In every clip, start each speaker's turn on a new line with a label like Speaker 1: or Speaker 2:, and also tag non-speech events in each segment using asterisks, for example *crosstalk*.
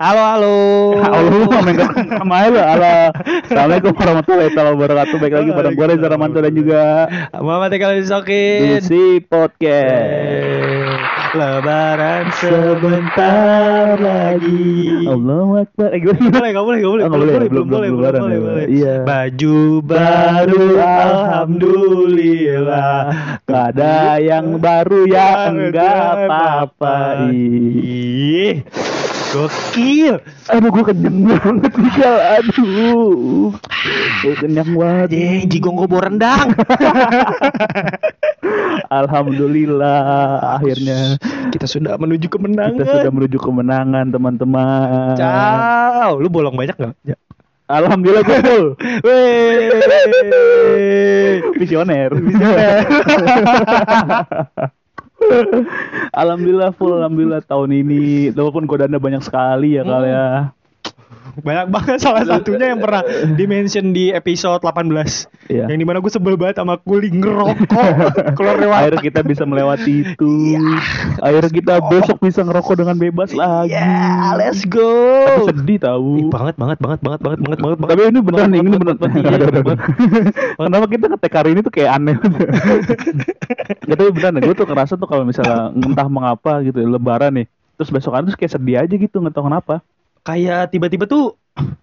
Speaker 1: Halo, halo.
Speaker 2: Allah main ke sama lu. Halo. Assalamualaikum warahmatullahi wabarakatuh. Baik lagi pada gue Reza Ramanto dan juga
Speaker 1: Muhammad kalau disokin.
Speaker 2: Dusi Podcast.
Speaker 1: Eh, Lebaran
Speaker 2: Sebentar
Speaker 1: lagi.
Speaker 2: Allahu Akbar. Eh, gue
Speaker 1: Boleh, nggak boleh, nggak boleh,
Speaker 2: Oh, nggak boleh, belum- belum lebaran, belum lebaran. Iya.
Speaker 1: Baju baru, Iya, alhamdulillah.
Speaker 2: Ada yang baru
Speaker 1: Iya,
Speaker 2: ya enggak apa-apa. Ih.
Speaker 1: Ih, gokil.
Speaker 2: Aduh gue kenyang banget Michel. Aduh. Gue kenyang banget.
Speaker 1: Jeh, jigong gue rendang.
Speaker 2: Alhamdulillah *laughs* akhirnya
Speaker 1: Kita sudah menuju kemenangan.
Speaker 2: kita sudah menuju kemenangan teman-teman.
Speaker 1: Ciao, lu bolong banyak gak? Ya.
Speaker 2: Alhamdulillah gue full.
Speaker 1: Wey.
Speaker 2: Visioner. alhamdulillah full, alhamdulillah tahun ini. Walaupun godaan banyak sekali ya kali ya.
Speaker 1: Hmm. Banyak banget salah satunya yang pernah dimention di episode 18.
Speaker 2: Iya.
Speaker 1: Yang dimana gue sebel banget sama kuling ngerokok keluar lewat. Iya.
Speaker 2: Akhirnya kita bisa melewati itu. Akhirnya kita besok bisa ngerokok dengan bebas lagi.
Speaker 1: Yeah, Iya, let's go.
Speaker 2: Tapi sedih tahu.
Speaker 1: Ih, banget banget banget banget banget banget banget banget. *laughs*
Speaker 2: Tapi ini beneran nih, ini beneran.
Speaker 1: banget,
Speaker 2: Udah, udah,
Speaker 1: banget.
Speaker 2: udah. *laughs* Kenapa kita ngetek hari ini tuh kayak
Speaker 1: *laughs*
Speaker 2: aneh. Gak tapi beneran, gue tuh ngerasa tuh kalau misalnya entah mengapa gitu, lebaran nih. Terus besokan terus kayak sedih aja gitu, nggak tahu kenapa.
Speaker 1: Kayak tiba-tiba tuh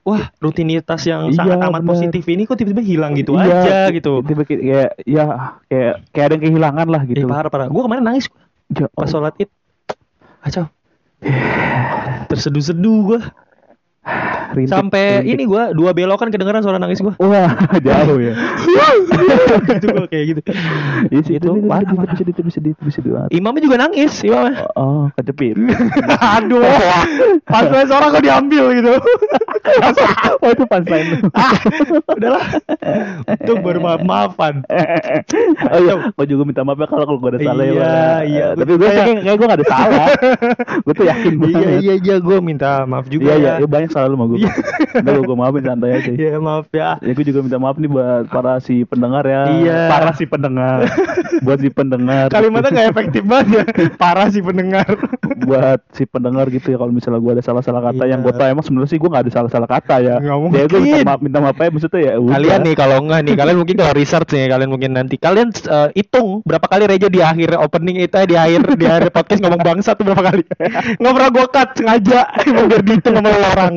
Speaker 1: wah, rutinitas yang
Speaker 2: Iya,
Speaker 1: sangat amat
Speaker 2: benar.
Speaker 1: positif ini kok tiba-tiba hilang gitu
Speaker 2: Iya,
Speaker 1: aja gitu.
Speaker 2: Tiba kayak kayak- ya kayak kayak ada yang kehilangan lah
Speaker 1: Ih, Eh,
Speaker 2: gitu.
Speaker 1: parah parah. Gue kemarin nangis
Speaker 2: Ya,
Speaker 1: pas sholat id kacau *sighs* terseduh-seduh gua
Speaker 2: rintik,
Speaker 1: sampai
Speaker 2: rintik.
Speaker 1: ini gua dua belokan kedengeran suara nangis gua
Speaker 2: Wah, *laughs* jauh
Speaker 1: *laughs*
Speaker 2: ya.
Speaker 1: gitu gua kayak gitu
Speaker 2: Iya sih,
Speaker 1: Itu
Speaker 2: itu
Speaker 1: Gitu, parah,
Speaker 2: bisa
Speaker 1: parah.
Speaker 2: bisa bisa bisa bisa bisa banget.
Speaker 1: imamnya juga nangis imamnya
Speaker 2: Oh, kejepit.
Speaker 1: *laughs* aduh *laughs* pas gua seorang kok diambil gitu
Speaker 2: oh, itu
Speaker 1: *laughs*
Speaker 2: punchline.
Speaker 1: ah *laughs* udahlah itu baru maaf maafan
Speaker 2: oh iya, gue juga minta maaf ya kalau kalau gue ada salah ya.
Speaker 1: Iya,
Speaker 2: Bang.
Speaker 1: iya,
Speaker 2: Eh,
Speaker 1: gua
Speaker 2: Tapi gue
Speaker 1: percaya.
Speaker 2: kayak kayak gue gak ada
Speaker 1: *laughs*
Speaker 2: salah. gue tuh yakin banget.
Speaker 1: *laughs* iya iya iya gua minta maaf
Speaker 2: Iya,
Speaker 1: juga
Speaker 2: iya,
Speaker 1: ya
Speaker 2: iya, banyak salah lu sama gue.
Speaker 1: Iya.
Speaker 2: Udah gue maafin santai aja.
Speaker 1: Iya, maaf ya
Speaker 2: Ya gue juga minta maaf nih buat para si pendengar ya.
Speaker 1: Iya.
Speaker 2: Para si
Speaker 1: *laughs*
Speaker 2: pendengar. buat si pendengar.
Speaker 1: kalimatnya nggak efektif *laughs* banget ya parah sih pendengar
Speaker 2: buat si pendengar gitu ya kalau misalnya gue ada salah-salah kata
Speaker 1: Iya.
Speaker 2: yang gue tahu emang sebenarnya sih gue nggak ada salah-salah kata ya.
Speaker 1: Nggak
Speaker 2: Ya gue minta
Speaker 1: mungkin.
Speaker 2: maaf, minta maaf aja maksudnya ya. udah.
Speaker 1: Kalian nih kalau enggak nih, kalian mungkin kalau research nih, kalian mungkin nanti kalian eh, hitung berapa kali Reja di akhir opening itu eh, di akhir di akhir podcast ngomong bangsa tuh berapa *laughs* kali. Enggak pernah gue cut sengaja emang biar gitu, dihitung sama orang.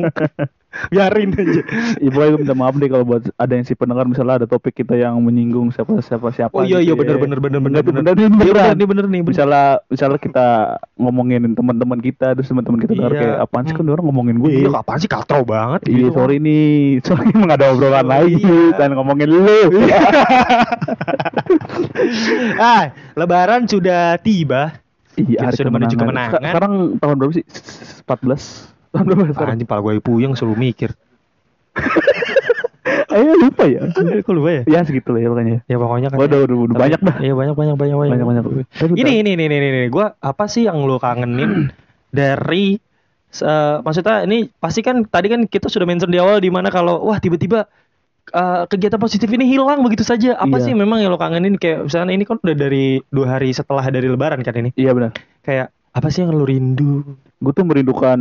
Speaker 1: Biarin aja.
Speaker 2: Ya, pokoknya gue minta maaf deh kalau buat ada yang si pendengar misalnya ada topik kita yang menyinggung siapa siapa siapa.
Speaker 1: Oh iya iya
Speaker 2: gitu ya.
Speaker 1: bener bener bener
Speaker 2: Bener,
Speaker 1: bener
Speaker 2: tuh,
Speaker 1: bener.
Speaker 2: bener, ini
Speaker 1: Iya
Speaker 2: beneran.
Speaker 1: bener nih bener nih. Bener.
Speaker 2: misalnya misalnya kita ngomongin teman-teman kita terus teman-teman kita dengar
Speaker 1: Iya.
Speaker 2: kayak apaan sih kan
Speaker 1: Hmm.
Speaker 2: orang ngomongin gue
Speaker 1: Iya
Speaker 2: iya
Speaker 1: kapan sih katro banget
Speaker 2: iya
Speaker 1: gitu.
Speaker 2: sorry nih *laughs* sorry emang ada obrolan lain
Speaker 1: Iya.
Speaker 2: dan ngomongin lu
Speaker 1: *laughs* ah, lebaran sudah tiba.
Speaker 2: *laughs* iya
Speaker 1: Kita
Speaker 2: hari
Speaker 1: sudah menuju
Speaker 2: kemenangan.
Speaker 1: kemenangan.
Speaker 2: Se- sekarang tahun berapa sih 14 tahun berapa sekarang
Speaker 1: Anjing pala gue puyeng suruh mikir.
Speaker 2: ayo lupa ya
Speaker 1: Kok lu ya?
Speaker 2: ya segitu lah ya pokoknya
Speaker 1: Ya pokoknya kan.
Speaker 2: Waduh, waduh, waduh, banyak dah.
Speaker 1: Iya banyak banyak banyak banyak.
Speaker 2: Banyak, banyak. Tapi
Speaker 1: Iya. Ini
Speaker 2: bentar.
Speaker 1: ini ini ini ini. Gua apa sih yang lu
Speaker 2: *clears throat*
Speaker 1: kangenin dari eh, maksudnya ini pasti kan tadi kan kita sudah mention di awal di mana kalau wah tiba-tiba eh, kegiatan positif ini hilang begitu saja. Apa
Speaker 2: Iya.
Speaker 1: sih memang yang lu kangenin kayak misalnya ini kan udah dari dua hari setelah dari lebaran kan ini.
Speaker 2: iya benar
Speaker 1: Kayak apa sih yang lu rindu?
Speaker 2: gue tuh merindukan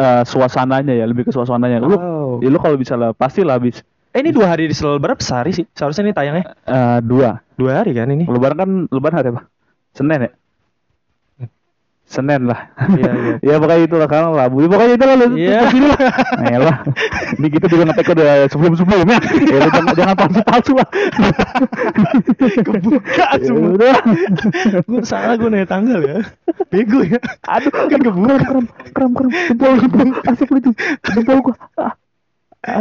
Speaker 2: eh, suasananya ya lebih ke suasananya lu
Speaker 1: Wow.
Speaker 2: ya lu kalau bisa lah pasti lah habis
Speaker 1: Eh, ini dua hari di setelah lebaran apa sehari sih? Seharusnya ini tayangnya
Speaker 2: eh, dua
Speaker 1: dua hari kan ini.
Speaker 2: Lebaran kan lebaran hari apa? Senin ya? Senin lah.
Speaker 1: Hmm. Iya, iya.
Speaker 2: *laughs* ya pokoknya itu lah karena Rabu. Ya, pokoknya itu lah lu
Speaker 1: *laughs* Iya.
Speaker 2: terus *laughs* ini lah. Nah, lah. Ini kita juga ngetek udah sebelum-sebelumnya. Ya lu jangan jangan palsu-palsu lah.
Speaker 1: Kebuka
Speaker 2: Ya,
Speaker 1: semua.
Speaker 2: udah.
Speaker 1: gue salah gue nanya tanggal ya. Bego ya.
Speaker 2: Aduh, kan kebuka. Kram, kram, kram. Jempol, jempol. Asik lu tuh. Jempol gua. Ah.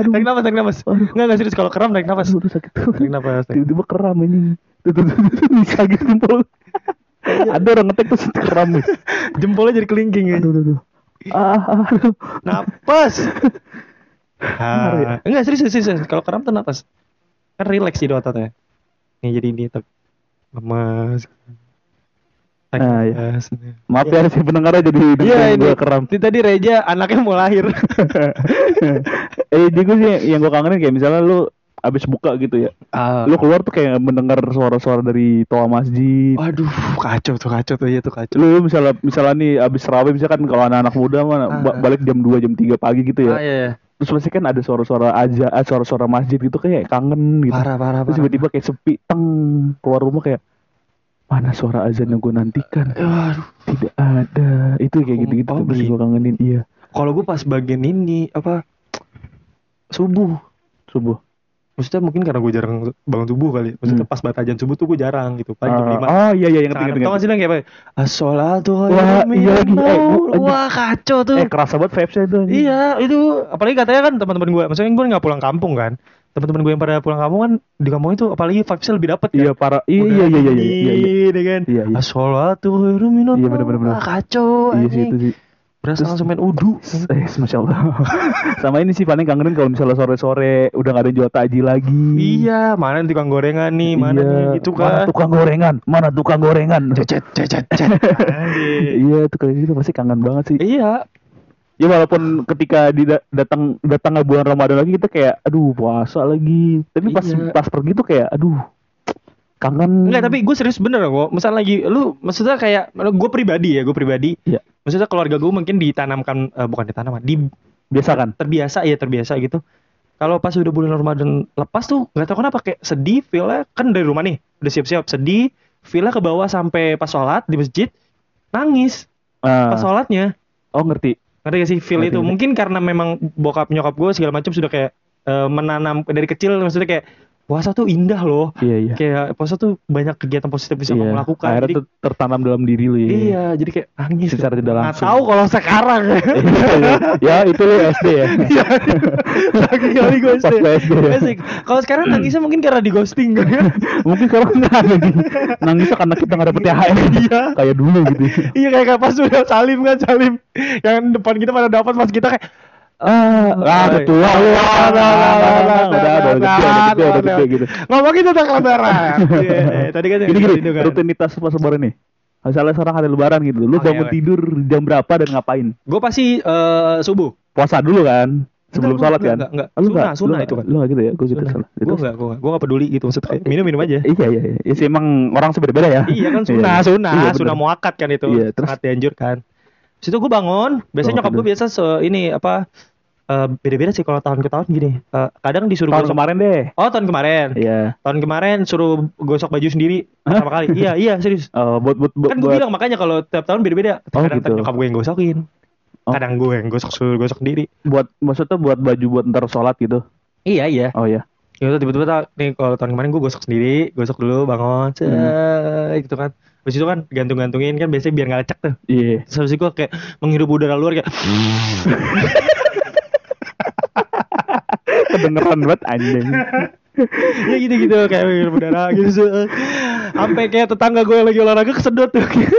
Speaker 2: Aduh.
Speaker 1: Tarik nafas, tarik nafas.
Speaker 2: Aduh.
Speaker 1: Enggak, enggak serius kalau kram tarik nafas.
Speaker 2: Aduh, sakit.
Speaker 1: Tarik nafas. tarik.
Speaker 2: Tiba-tiba keram ini. Tuh, tuh, tuh, tuh, Bisa gitu jempol. Ada orang ngetek terus keram. nih.
Speaker 1: Jempolnya jadi kelingking ya.
Speaker 2: Aduh, aduh, aduh. Ah, ah, aduh. *laughs*
Speaker 1: Nafas.
Speaker 2: Ngaruh ya?
Speaker 1: Ah, enggak serius, serius, serius. Kalau kram tuh nafas. Kan relax jadi ototnya. Nih jadi ini tuh. Lemas. Tarik
Speaker 2: Ah, iya.
Speaker 1: nafas.
Speaker 2: Maaf ya si pendengarnya jadi
Speaker 1: Iya
Speaker 2: dengerin
Speaker 1: ini
Speaker 2: gua keram. *laughs*
Speaker 1: Ini tadi Reja anaknya mau lahir.
Speaker 2: eh jadi gue sih yang gue kangenin kayak misalnya lu eh abis buka gitu ya
Speaker 1: Ah.
Speaker 2: lu keluar tuh kayak mendengar suara-suara dari toa masjid
Speaker 1: Waduh, kacau tuh, kacau tuh, Oh, iya tuh kacau.
Speaker 2: lu misalnya misalnya nih abis raweh misalkan kalau anak-anak muda mah ba- balik jam 2 jam 3 pagi gitu ya
Speaker 1: Ah, iya, iya.
Speaker 2: terus pasti kan ada suara-suara aja ah, suara-suara masjid gitu kayak kangen gitu
Speaker 1: Parah, parah,
Speaker 2: terus
Speaker 1: parah.
Speaker 2: tiba-tiba kayak sepi teng keluar rumah kayak mana suara azan yang gue nantikan
Speaker 1: Aduh,
Speaker 2: tidak ada itu kayak gitu-gitu
Speaker 1: Oh,
Speaker 2: tuh pasti
Speaker 1: gitu.
Speaker 2: gue kangenin iya
Speaker 1: kalau gue pas bagian ini apa subuh.
Speaker 2: subuh
Speaker 1: Maksudnya mungkin karena gue jarang bangun subuh kali. ya. Maksudnya
Speaker 2: Hmm.
Speaker 1: pas batajan subuh tuh gue jarang gitu. Paling jam
Speaker 2: Ah,
Speaker 1: lima.
Speaker 2: oh iya iya
Speaker 1: Sangat-
Speaker 2: yang ngerti
Speaker 1: Tau gak
Speaker 2: ngerti
Speaker 1: sih lah kayak apa? ya? As-sholatu
Speaker 2: Wah,
Speaker 1: khairun
Speaker 2: iya lagi.
Speaker 1: minan
Speaker 2: Eh,
Speaker 1: naum."
Speaker 2: gua-
Speaker 1: Wah, kacau tuh.
Speaker 2: eh kerasa banget vibesnya itu anjing.
Speaker 1: Iya, itu apalagi katanya kan teman-teman gue, maksudnya gue nggak pulang kampung kan. Teman-teman gue yang pada pulang kampung kan di kampung itu apalagi vibes-nya lebih dapet kan.
Speaker 2: iya para iya iya iya iya iya iya
Speaker 1: Iya kan.
Speaker 2: Iya, iya.
Speaker 1: As-sholatu khairum minan naum.
Speaker 2: Iya,
Speaker 1: Ah,
Speaker 2: bener-bener.
Speaker 1: kacau.
Speaker 2: Iya sih
Speaker 1: anjing.
Speaker 2: itu sih
Speaker 1: Berasa
Speaker 2: Terus-
Speaker 1: langsung main udu.
Speaker 2: eh masya Allah *laughs* sama ini sih paling kangenin kalau misalnya sore-sore udah gak ada yang jual takjil lagi
Speaker 1: Iya, mana nih tukang gorengan nih, mana
Speaker 2: Iya.
Speaker 1: nih gitu
Speaker 2: Mana
Speaker 1: kan.
Speaker 2: tukang gorengan mana tukang gorengan
Speaker 1: Cecet, cecet, cecet. Anjing.
Speaker 2: *laughs* iya tuh kayak gitu pasti kangen banget sih
Speaker 1: Iya,
Speaker 2: ya walaupun ketika di da- datang datangnya bulan Ramadan lagi kita kayak aduh puasa lagi tapi pas
Speaker 1: Iya.
Speaker 2: pas pergi tuh kayak aduh kangen
Speaker 1: Enggak, tapi gue serius bener kok. Misalnya lagi, lu maksudnya kayak, gue pribadi ya, gue pribadi.
Speaker 2: Iya.
Speaker 1: Maksudnya keluarga gue mungkin ditanamkan, eh, bukan ditanamkan, di,
Speaker 2: biasa kan
Speaker 1: terbiasa ya terbiasa gitu. Kalau pas udah bulan Ramadan lepas tuh, nggak tahu kenapa kayak sedih, feel-nya kan dari rumah nih, udah siap-siap sedih, feel-nya ke bawah sampai pas sholat di masjid, nangis
Speaker 2: Ah,
Speaker 1: pas sholatnya.
Speaker 2: oh ngerti
Speaker 1: Ngerti gak sih feel
Speaker 2: Ngerti,
Speaker 1: itu?
Speaker 2: ngerti.
Speaker 1: Mungkin karena memang bokap nyokap gue segala macam sudah kayak eh, menanam dari kecil, maksudnya kayak puasa tuh indah loh.
Speaker 2: iya iya
Speaker 1: Kayak puasa tuh banyak kegiatan positif bisa
Speaker 2: Iya.
Speaker 1: kamu lakukan.
Speaker 2: akhirnya
Speaker 1: Jadi
Speaker 2: tuh tertanam dalam diri lu ya
Speaker 1: Iya, jadi kayak nangis gitu.
Speaker 2: Secara tidak
Speaker 1: Nggak
Speaker 2: langsung. Iya.
Speaker 1: tahu kalau sekarang ya.
Speaker 2: *laughs* ya itu lu SD ya
Speaker 1: *laughs* Iya. Lagi kali gue
Speaker 2: Pas lu SD ya.
Speaker 1: Asik. Kalau sekarang nangisnya mungkin karena di ghosting.
Speaker 2: *laughs* mungkin sekarang nggak ada nih nangisnya karena kita nggak dapet THR
Speaker 1: Iya.
Speaker 2: kayak dulu gitu
Speaker 1: iya kayak kayak pas udah salim kan salim. Yang depan kita pada dapat pas kita kayak
Speaker 2: ah ah udah tua lu ah, ah, ah, ah, ah, udah udah gede udah gede udah gede gitu
Speaker 1: Ngomongin tentang lebaran.
Speaker 2: *laughs*
Speaker 1: Iya, iya. Tadi kan yang
Speaker 2: gini gini
Speaker 1: gitu kan.
Speaker 2: rutinitas pas lebaran nih misalnya sekarang hari lebaran gitu lu
Speaker 1: Oke,
Speaker 2: bangun
Speaker 1: oke.
Speaker 2: tidur jam berapa dan ngapain
Speaker 1: Gue pasti eh, subuh.
Speaker 2: puasa dulu kan sebelum
Speaker 1: Enggak,
Speaker 2: sholat
Speaker 1: enggak,
Speaker 2: kan
Speaker 1: enggak, enggak.
Speaker 2: Ah, lu
Speaker 1: Sunnah,
Speaker 2: nggak- lu
Speaker 1: sunnah
Speaker 2: nggak-
Speaker 1: itu kan.
Speaker 2: lu nggak gitu ya gue gitu salah
Speaker 1: Gue enggak, gue enggak, gue enggak peduli gitu maksudnya kayak minum-minum aja.
Speaker 2: iya iya iya Ya, sih emang orang sebenarnya beda ya
Speaker 1: Iya kan sunah, sunah,
Speaker 2: Iya, bener.
Speaker 1: sunah muakat kan itu.
Speaker 2: Iya, terus?
Speaker 1: Sangat dianjurkan. Terus itu gue bangun, biasanya
Speaker 2: Bangun
Speaker 1: nyokap gue
Speaker 2: tidur.
Speaker 1: biasa se- ini apa eh, beda-beda sih kalau tahun ke tahun gini. Eh, kadang disuruh
Speaker 2: tahun
Speaker 1: gosok-
Speaker 2: kemarin deh
Speaker 1: Oh, tahun kemarin.
Speaker 2: iya
Speaker 1: Tahun kemarin suruh gosok baju sendiri pertama kali. Iya, iya serius.
Speaker 2: Eh, buat buat buat
Speaker 1: Kan gue
Speaker 2: buat-
Speaker 1: bilang makanya kalau tiap tahun beda-beda.
Speaker 2: Oh,
Speaker 1: Kadang
Speaker 2: gitu.
Speaker 1: nyokap gue yang gosokin.
Speaker 2: Oh.
Speaker 1: Kadang gue yang gosok suruh gosok sendiri.
Speaker 2: buat maksudnya buat baju buat ntar sholat gitu
Speaker 1: Iya, iya.
Speaker 2: oh ya
Speaker 1: Ya udah tiba-tiba tau, nih kalau tahun kemarin gue gosok sendiri, gosok dulu
Speaker 2: Hmm.
Speaker 1: bangun, cet, gitu kan. Habis itu kan gantung-gantungin kan biasanya biar nggak lecek tuh.
Speaker 2: iya
Speaker 1: Terus habis itu gue kayak menghirup udara luar kayak *laughs*
Speaker 2: kedengeran banget
Speaker 1: *laughs*
Speaker 2: anjing
Speaker 1: ya gitu-gitu kayak menghirup udara gitu. Sampai kayak tetangga gue yang lagi olahraga kesedot tuh. *laughs*
Speaker 2: kayak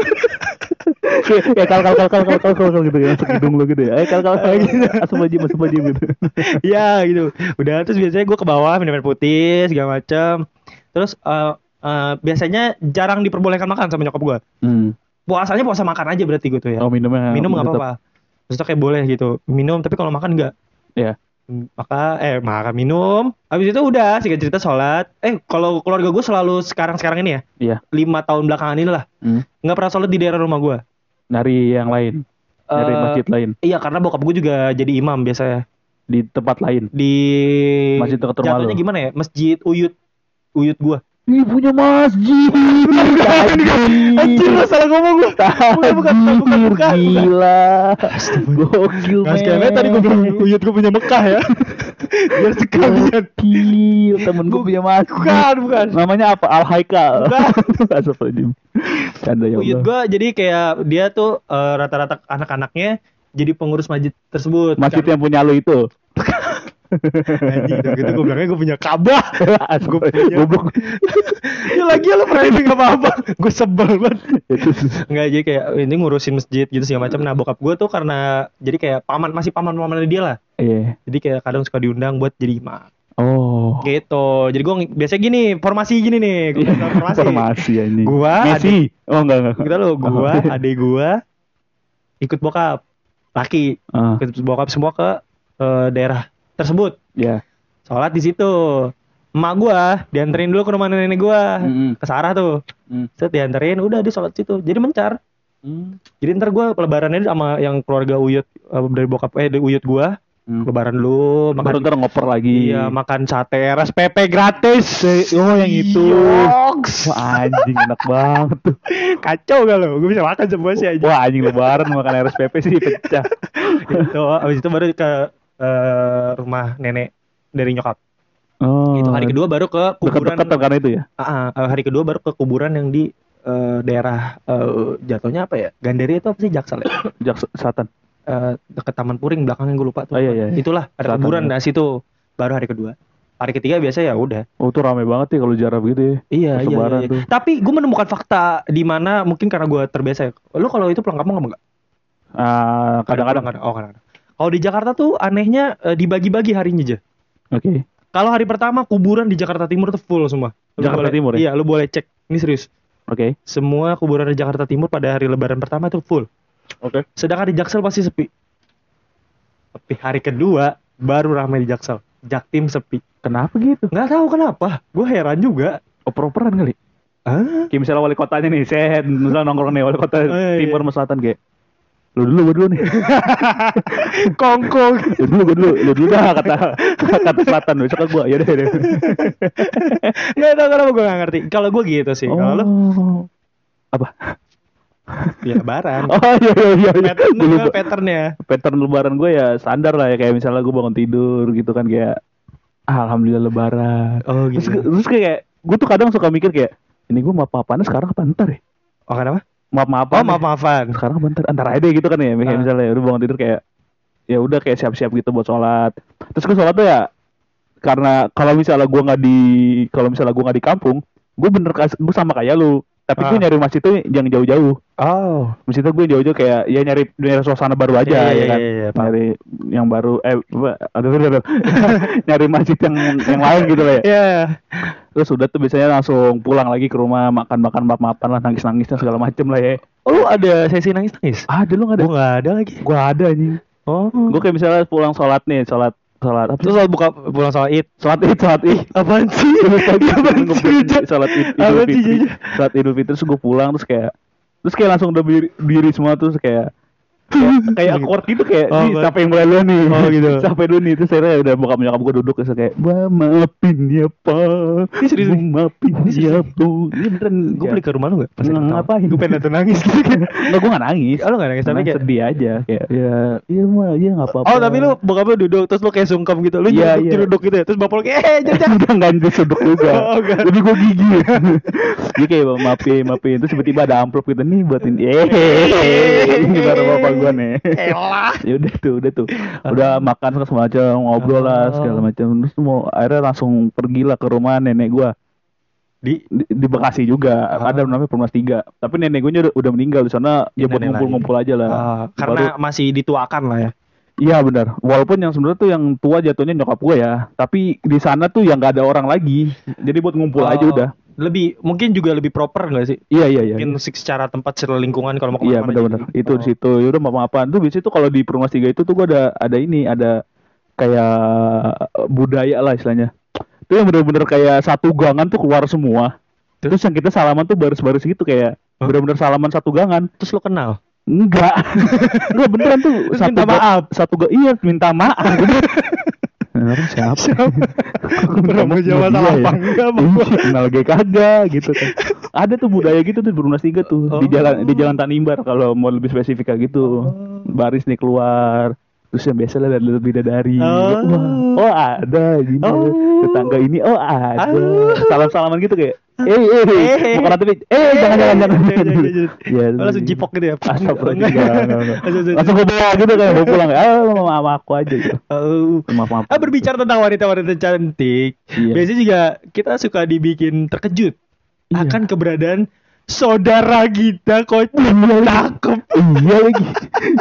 Speaker 2: Ya, kal kal kal kal kal kal kal, kal gitu ya masuk hidung lu gitu ya eh kal kal kal
Speaker 1: *laughs*
Speaker 2: asup aja asup aja gitu
Speaker 1: ya gitu. Udah terus biasanya gue ke bawah minum air putih segala macam. Terus eh, eh, biasanya jarang diperbolehkan makan sama nyokap gue.
Speaker 2: hmm.
Speaker 1: Puasanya puasa makan aja berarti gitu ya.
Speaker 2: oh minumnya
Speaker 1: minum nggak
Speaker 2: tetap.
Speaker 1: apa-apa. Maksudnya kayak boleh gitu. Minum tapi kalau makan nggak.
Speaker 2: Iya.
Speaker 1: Maka eh makan minum. Habis itu udah singkat cerita sholat. Eh kalau keluarga gue selalu sekarang sekarang ini ya.
Speaker 2: iya
Speaker 1: lima tahun belakangan ini lah
Speaker 2: hmm.
Speaker 1: nggak pernah sholat di daerah rumah gue.
Speaker 2: dari yang lain dari
Speaker 1: Eh,
Speaker 2: masjid lain
Speaker 1: Iya karena bokap gue juga jadi imam biasanya
Speaker 2: di tempat lain
Speaker 1: di
Speaker 2: Masjid dekat rumah
Speaker 1: jatuhnya
Speaker 2: lu?
Speaker 1: gimana ya masjid uyut uyut gue.
Speaker 2: ini punya masjid anjing
Speaker 1: salah ngomong gue. Bukan bukan bukan bukan. bukan.
Speaker 2: gila gokil
Speaker 1: Nggak sekalian tadi gue bilang uyut gue punya Mekah ya. Biar sekalian.
Speaker 2: gokil temen gue punya masjid
Speaker 1: Bukan bukan.
Speaker 2: namanya apa Al Haikal *laughs*
Speaker 1: Bukan.
Speaker 2: Astagfirullahaladzim Canda ya
Speaker 1: Uyut
Speaker 2: Allah
Speaker 1: gue jadi kayak dia tuh eh, rata-rata anak-anaknya jadi pengurus masjid tersebut.
Speaker 2: Masjid ya? yang punya lu itu
Speaker 1: Anjing, udah
Speaker 2: *laughs*
Speaker 1: gitu gue bilangnya gue punya kabah. Gue punya.
Speaker 2: Goblok
Speaker 1: ya lagi ya lo framing apa-apa. Gue sebel banget.
Speaker 2: Itu
Speaker 1: Enggak jadi kayak ini ngurusin masjid gitu segala macam. Nah bokap gue tuh karena jadi kayak paman masih paman paman dia lah.
Speaker 2: Iya
Speaker 1: Jadi kayak kadang suka diundang buat jadi imam
Speaker 2: Oh
Speaker 1: gitu. Jadi gue ng- biasanya gini formasi gini nih. Gue bilang formasi.
Speaker 2: Iya, Formasi ya ini
Speaker 1: Gua,
Speaker 2: Messi Oh enggak enggak
Speaker 1: Kita lo gue, adik gue ikut bokap laki
Speaker 2: Ah,
Speaker 1: ikut bokap semua ke eh, daerah tersebut.
Speaker 2: Ya
Speaker 1: Sholat di situ. emak gua dianterin dulu ke rumah nenek gua
Speaker 2: Mm-mm.
Speaker 1: ke Sarah tuh
Speaker 2: Hmm.
Speaker 1: set dianterin udah dia sholat situ jadi mencar Mm, jadi ntar gua lebarannya sama yang keluarga uyut eh, dari bokap eh dari uyut gua
Speaker 2: Hmm.
Speaker 1: lebaran dulu
Speaker 2: Baru
Speaker 1: makan
Speaker 2: ntar ngoper lagi.
Speaker 1: mm. iya makan sate RSPP gratis oh yang itu
Speaker 2: Wah anjing enak
Speaker 1: *laughs*
Speaker 2: banget tuh.
Speaker 1: kacau gak lo gue bisa makan semua sih *laughs* aja
Speaker 2: Wah anjing lebaran makan RSPP sih pecah.
Speaker 1: itu Gitu. abis itu baru ke eh, rumah nenek dari nyokap
Speaker 2: Oh.
Speaker 1: itu hari kedua baru ke kuburan
Speaker 2: Dekat-dekat karena itu ya.
Speaker 1: Ah, ah, hari kedua baru ke kuburan yang di eh, daerah eh, jatuhnya apa ya Gandaria itu apa sih Jaksel ya
Speaker 2: Jak selatan.
Speaker 1: Eh, deket Taman Puring belakangnya gue lupa tuh
Speaker 2: Oh, iya, iya, iya.
Speaker 1: itulah ada
Speaker 2: Selatan,
Speaker 1: kuburan
Speaker 2: iya.
Speaker 1: nah situ baru hari kedua hari ketiga biasa ya udah
Speaker 2: Oh tuh rame banget ya kalau jarak begitu ya.
Speaker 1: Iya, iya,
Speaker 2: Persebaran
Speaker 1: iya.
Speaker 2: tuh.
Speaker 1: Tapi gue menemukan fakta di mana mungkin karena gue terbiasa. ya. Lu kalau itu pulang kampung apa enggak?
Speaker 2: Ah, kadang-kadang. Oke.
Speaker 1: Oh, kadang-kadang. Kalau di Jakarta tuh anehnya eh, dibagi-bagi harinya aja. Kalau hari pertama kuburan di Jakarta Timur tuh full semua. Lu
Speaker 2: Jakarta
Speaker 1: boleh-
Speaker 2: Timur ya?
Speaker 1: Iya, lu boleh cek. Ini serius.
Speaker 2: Oke.
Speaker 1: Semua kuburan di Jakarta Timur pada hari lebaran pertama tuh full.
Speaker 2: Oke.
Speaker 1: Sedangkan di Jaksel pasti sepi. Tapi hari kedua baru ramai di Jaksel. Jaktim sepi.
Speaker 2: Kenapa gitu?
Speaker 1: Nggak tahu kenapa. Gue heran juga.
Speaker 2: Oper-operan kali.
Speaker 1: Ah,
Speaker 2: *laughs* Kayak misalnya wali kotanya nih, set misalnya nongkrong nih wali kota
Speaker 1: Oh, iya, iya.
Speaker 2: timur sama selatan kayak lu dulu gua dulu nih
Speaker 1: kongkong.
Speaker 2: lu dulu gua dulu lu dulu dah kata kata selatan besok gua ya deh
Speaker 1: *laughs* *laughs* Nggak tahu kenapa gue nggak ngerti. Kalau gue gitu sih. Kalau lu
Speaker 2: oh apa *laughs*
Speaker 1: ya lebaran.
Speaker 2: oh iya iya iya, iya
Speaker 1: Pattern
Speaker 2: Gua lupa.
Speaker 1: gua patternnya.
Speaker 2: pattern lebaran gue ya standar lah ya kayak misalnya gue bangun tidur gitu kan kayak "Ah, alhamdulillah lebaran
Speaker 1: Oh
Speaker 2: terus,
Speaker 1: gitu.
Speaker 2: terus kayak gue tuh kadang suka mikir kayak ini gue maaf maafan sekarang apa ntar ya
Speaker 1: Oh kenapa?
Speaker 2: maaf maafan
Speaker 1: Oh maaf maafan.
Speaker 2: sekarang apa ntar antar aja deh gitu kan ya kayak
Speaker 1: Ah.
Speaker 2: misalnya udah bangun tidur kayak ya udah kayak siap siap gitu buat sholat terus gue sholat tuh ya karena kalau misalnya gue nggak di kalau misalnya gue nggak di kampung gue bener gue sama kayak lu tapi
Speaker 1: Ah.
Speaker 2: gue nyari masjid tuh yang jauh-jauh
Speaker 1: Oh.
Speaker 2: Maksudnya gue jauh-jauh kayak ya nyari nyari suasana baru
Speaker 1: Iya, iya,
Speaker 2: aja ya kan.
Speaker 1: iya, iya, paham.
Speaker 2: nyari yang baru eh apa, aduh, aduh, *laughs* aduh. nyari masjid yang yang lain gitu lah ya.
Speaker 1: Iya.
Speaker 2: Terus udah tuh biasanya langsung pulang lagi ke rumah makan-makan mapan lah nangis-nangisnya segala macem lah ya.
Speaker 1: Oh, lu ada sesi nangis nangis?
Speaker 2: Ah, dulu enggak ada.
Speaker 1: Gue nggak ada lagi.
Speaker 2: Gua ada anjing.
Speaker 1: Oh.
Speaker 2: Gue kayak misalnya pulang sholat nih, sholat sholat apa? sih?
Speaker 1: Terus lo buka pulang sholat id.
Speaker 2: Sholat id, sholat id.
Speaker 1: Apaan sih? Apaan sih? Jack?
Speaker 2: sholat id, idul
Speaker 1: Apaan sih,
Speaker 2: fitri
Speaker 1: Jack?
Speaker 2: sholat idul fitri terus gue pulang terus kayak terus kayak langsung udah berdiri berdiri semua terus kayak kayak, kayak awkward gitu kayak
Speaker 1: Oh,
Speaker 2: nih
Speaker 1: baik.
Speaker 2: siapa yang mulai dulu nih
Speaker 1: Oh, gitu.
Speaker 2: *laughs* siapa yang dulu nih terus akhirnya udah bokap nyokap gue duduk terus kayak "Bah, maafin ya pa
Speaker 1: Ini serius nih?
Speaker 2: maafin
Speaker 1: Ini serius Iya.
Speaker 2: ya
Speaker 1: nih?
Speaker 2: tuh ini beneran
Speaker 1: Gue beli ke rumah lu nggak?
Speaker 2: Nggak, Iya. ngapain?
Speaker 1: Gue pengen nonton
Speaker 2: *laughs*
Speaker 1: nangis gitu kan.
Speaker 2: Enggak, gue gak nangis
Speaker 1: Oh, lu nggak nangis, tapi
Speaker 2: Cuman
Speaker 1: kayak-
Speaker 2: sedih aja Kayak ya Iya mah Iya gak apa-apa
Speaker 1: Oh tapi lu bokap lu duduk terus lu kayak sungkem gitu, lu
Speaker 2: Iya,
Speaker 1: duduk
Speaker 2: iya.
Speaker 1: duduk gitu ya, terus bapak lu kayak eh jadi
Speaker 2: *laughs*
Speaker 1: *laughs*
Speaker 2: udah nggak nyentuh sudut juga
Speaker 1: Oh, enggak.
Speaker 2: jadi gue gigi
Speaker 1: *laughs*
Speaker 2: dia kayak maafin maafin terus tiba-tiba ada amplop gitu nih buatin
Speaker 1: *laughs*
Speaker 2: eh ini baru bapak gue nih
Speaker 1: Elah.
Speaker 2: ya udah tuh udah tuh
Speaker 1: Ah.
Speaker 2: udah makan terus segala macam ngobrol lah
Speaker 1: Oh.
Speaker 2: segala macam terus mau akhirnya langsung pergi lah ke rumah nenek gue
Speaker 1: Di
Speaker 2: di, di Bekasi juga
Speaker 1: Ah.
Speaker 2: ada namanya Perumnas 3 tapi nenek gue udah, udah meninggal di sana
Speaker 1: Nenek
Speaker 2: ya buat
Speaker 1: lagi.
Speaker 2: ngumpul-ngumpul aja lah
Speaker 1: Ah, karena masih dituakan lah ya.
Speaker 2: Iya benar. Walaupun yang sebenarnya tuh yang tua jatuhnya nyokap gue ya, tapi di sana tuh yang nggak ada orang lagi. Jadi buat ngumpul aja
Speaker 1: Oh,
Speaker 2: udah.
Speaker 1: Lebih mungkin juga lebih proper nggak sih?
Speaker 2: Iya iya iya.
Speaker 1: Mungkin sih secara tempat secara lingkungan kalau mau kemana-mana. gitu.
Speaker 2: Iya
Speaker 1: Oh.
Speaker 2: benar-benar.
Speaker 1: jadi-
Speaker 2: Itu di situ. Ya udah maaf maafan tuh biasanya tuh kalau di Perumnas tiga itu tuh gue ada ada ini ada kayak eh, budaya lah istilahnya. Itu yang benar-benar kayak satu gangan tuh keluar semua. Terus yang kita salaman tuh baris-baris gitu kayak
Speaker 1: Hah?
Speaker 2: benar-benar salaman satu gangan.
Speaker 1: Terus lo kenal? *laughs*
Speaker 2: Enggak. Enggak beneran tuh.
Speaker 1: Terus minta
Speaker 2: ga-
Speaker 1: maaf.
Speaker 2: Satu ga, iya minta maaf.
Speaker 1: *laughs*
Speaker 2: Bener. Nah, Bener, siapa?
Speaker 1: Promo Jawa Salapang. Enggak, Bang.
Speaker 2: Iya, kenal gue kagak gitu kan. Ada tuh budaya gitu tuh di Brunei Tiga tuh di
Speaker 1: Oh.
Speaker 2: jalan di jalan Tanimbar kalau mau lebih spesifik kayak gitu. Baris nih keluar. Terus yang biasa lah dari bidadari.
Speaker 1: Oh.
Speaker 2: Wah, oh ada gini.
Speaker 1: Oh.
Speaker 2: Tetangga ini oh ada.
Speaker 1: Oh.
Speaker 2: Salam-salaman gitu kayak. Eh, eh, eh,
Speaker 1: Eh.
Speaker 2: bukan nanti, eh, eh, jangan, jangan, jangan. *laughs*
Speaker 1: Ya,
Speaker 2: Ya,
Speaker 1: langsung jipok gitu ya.
Speaker 2: Astagfirullah.
Speaker 1: Enggak.
Speaker 2: *laughs* enggak, enggak, enggak.
Speaker 1: Langsung-
Speaker 2: Langsung gue bawa gitu kan, gue pulang. Ah, lu mau sama aku aja gitu.
Speaker 1: Oh.
Speaker 2: Maaf, maaf.
Speaker 1: Ah, berbicara tentang wanita-wanita cantik,
Speaker 2: Iya.
Speaker 1: biasanya juga kita suka dibikin terkejut
Speaker 2: Iya.
Speaker 1: akan keberadaan saudara kita kok cakep.
Speaker 2: Iya lagi.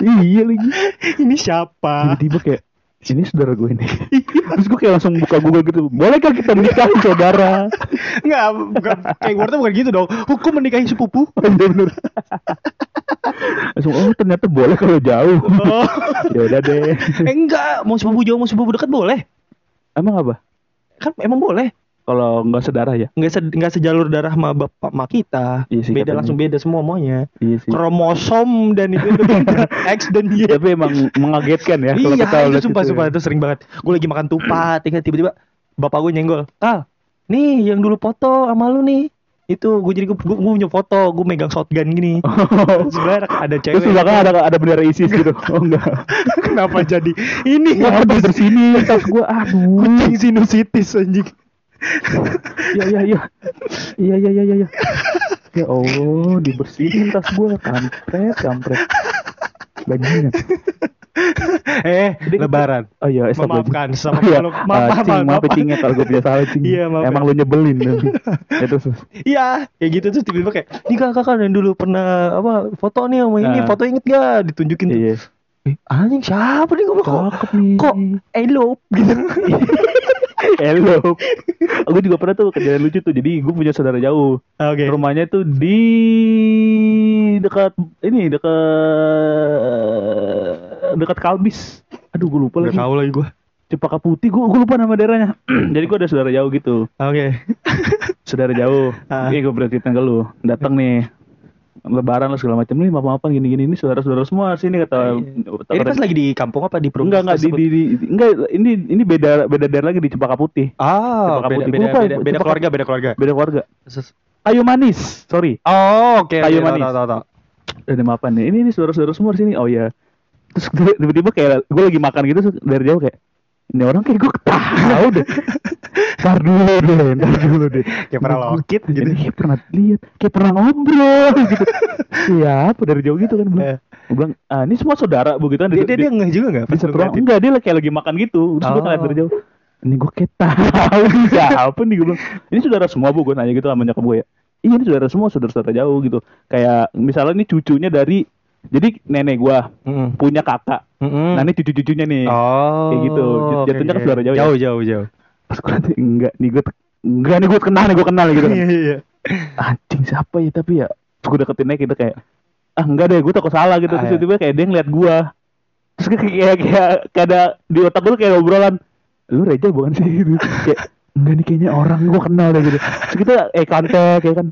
Speaker 2: Iya lagi.
Speaker 1: *laughs* Ini siapa?
Speaker 2: Tiba-tiba kayak ini saudara gue nih. Terus gue kayak langsung buka Google gitu. Bolehkah kita menikah saudara?
Speaker 1: Enggak, bukan kayak gue tuh bukan gitu dong. Hukum menikahi
Speaker 2: *laughs*
Speaker 1: sepupu.
Speaker 2: Oh, Bener bener. Langsung oh ternyata boleh kalau jauh.
Speaker 1: Oh.
Speaker 2: ya udah
Speaker 1: Eh,
Speaker 2: deh.
Speaker 1: enggak, mau sepupu jauh mau sepupu dekat boleh.
Speaker 2: Emang apa?
Speaker 1: Kan emang boleh.
Speaker 2: kalau nggak sedarah ya
Speaker 1: nggak se nggak sejalur darah sama bapak ma kita
Speaker 2: Iya sih,
Speaker 1: beda
Speaker 2: katanya.
Speaker 1: langsung beda semua semuanya
Speaker 2: iya sih
Speaker 1: kromosom dan itu, itu
Speaker 2: *laughs*
Speaker 1: beda. X dan Y
Speaker 2: tapi emang mengagetkan ya kalau
Speaker 1: iya
Speaker 2: kita
Speaker 1: itu
Speaker 2: lihat
Speaker 1: sumpah
Speaker 2: gitu
Speaker 1: sumpah
Speaker 2: ya.
Speaker 1: itu sering banget gue lagi makan tupat ingat tiba-tiba bapak gue nyenggol kal nih yang dulu foto sama lu nih itu gue jadi gue gue punya foto gue megang shotgun gini sebenarnya ada
Speaker 2: Oh. terus
Speaker 1: cewek
Speaker 2: di belakang ada ada bendera ISIS gitu oh enggak
Speaker 1: *laughs* *laughs* kenapa jadi ini
Speaker 2: Gua habis dari sini terus gue aduh
Speaker 1: kucing sinusitis anjing
Speaker 2: iya iya iya iya iya iya iya ya. ya Allah dibersihin tas gue kampret kampret bajingan
Speaker 1: *laughs* *laughs* eh
Speaker 2: Jadi-
Speaker 1: lebaran
Speaker 2: oh iya es lagi
Speaker 1: memaafkan sama
Speaker 2: Iya,
Speaker 1: makhluk maaf maaf
Speaker 2: cing, maaf
Speaker 1: maaf.
Speaker 2: ya, cing ya kalau gue punya salah cing.
Speaker 1: Iya, maaf ya.
Speaker 2: Emang lu nyebelin
Speaker 1: *laughs*
Speaker 2: tapi. ya terus. terus.
Speaker 1: Iya, kayak gitu terus tiba-tiba kayak, "Nih kakak kan yang dulu pernah apa foto nih sama ini,
Speaker 2: Nah.
Speaker 1: foto inget gak?" ditunjukin. tuh.
Speaker 2: Iya.
Speaker 1: Eh, Anjing siapa nih gue kok?
Speaker 2: Cakep nih.
Speaker 1: Kok elop gitu.
Speaker 2: Hello. Gue juga pernah tuh kejadian lucu tuh. Jadi gue punya saudara jauh.
Speaker 1: *laughs* Oke.
Speaker 2: Rumahnya tuh di dekat ini dekat dekat Kalbis. Aduh gue lupa
Speaker 1: Gak
Speaker 2: lagi.
Speaker 1: tahu lagi gue.
Speaker 2: Cepaka Putih. Gue gue lupa nama daerahnya. *clears throat* Jadi gue ada saudara jauh gitu.
Speaker 1: Oke.
Speaker 2: *laughs* saudara jauh.
Speaker 1: Ah.
Speaker 2: Oke, gue bercerita ke lu. Datang nih lebaran lah segala macam nih mapan-mapan gini-gini ini saudara-saudara semua sini kata kata-
Speaker 1: Iya. Ini pas lagi di kampung apa di
Speaker 2: enggak enggak di,
Speaker 1: tersebut?
Speaker 2: di, di- enggak ini ini beda beda daerah lagi di Cempaka Putih
Speaker 1: Ah,
Speaker 2: Cempaka
Speaker 1: beda,
Speaker 2: Putih.
Speaker 1: beda,
Speaker 2: Lupa,
Speaker 1: beda, beda
Speaker 2: Cempaka-
Speaker 1: keluarga, beda keluarga.
Speaker 2: beda keluarga
Speaker 1: Ses-
Speaker 2: Kayu Manis sorry
Speaker 1: Oh, oke. oke,
Speaker 2: Kayu
Speaker 1: tahu,
Speaker 2: manis.
Speaker 1: tahu, tahu, tahu.
Speaker 2: ada mapan nih ini ini saudara-saudara semua di sini oh ya terus gue- tiba-tiba kayak gue lagi makan gitu terus dari jauh kayak ini orang kayak gue *laughs* tahu deh ntar dulu deh ntar dulu deh
Speaker 1: Iya, Kayak pernah lokit gitu.
Speaker 2: Ini kayak pernah lihat kayak pernah ngobrol *laughs* gitu siapa dari jauh gitu kan bilang
Speaker 1: Eh.
Speaker 2: gue bilang ah ini semua saudara begitu kan
Speaker 1: *laughs* Dia
Speaker 2: di-
Speaker 1: dia
Speaker 2: di-
Speaker 1: dia ngeh juga enggak
Speaker 2: di satu ruang enggak dia kayak lagi makan gitu terus gue
Speaker 1: Oh.
Speaker 2: ngeliat dari jauh ini gue kayak tahu *laughs* nih, siapa nih gue bilang ini saudara semua bu gue nanya gitu sama nyokap gue ya iya ini saudara semua saudara saudara jauh gitu kayak misalnya ini cucunya dari jadi nenek gue
Speaker 1: Heeh.
Speaker 2: punya kakak nah ini cucu-cucunya nih
Speaker 1: Hmm. Oh.
Speaker 2: Kayak gitu. Jat-
Speaker 1: oke,
Speaker 2: jatuhnya kan
Speaker 1: oke.
Speaker 2: saudara jauh ya?
Speaker 1: Jauh, jauh, jauh.
Speaker 2: pas gue nanti enggak nih gue enggak nih gue kenal nih gue kenal gitu kan
Speaker 1: Iya,
Speaker 2: *laughs*
Speaker 1: iya.
Speaker 2: anjing siapa ya tapi ya terus gue deketin aja gitu kayak ah enggak deh gue takut salah gitu
Speaker 1: Ah,
Speaker 2: terus
Speaker 1: iya.
Speaker 2: tiba-tiba kayak dia ngeliat gue terus kayak kayak kayak, kayak ada di otak gue kayak ada obrolan lu Reja bukan sih *laughs* gitu kayak enggak nih kayaknya orang gue kenal deh gitu terus kita eh kontak kayak kan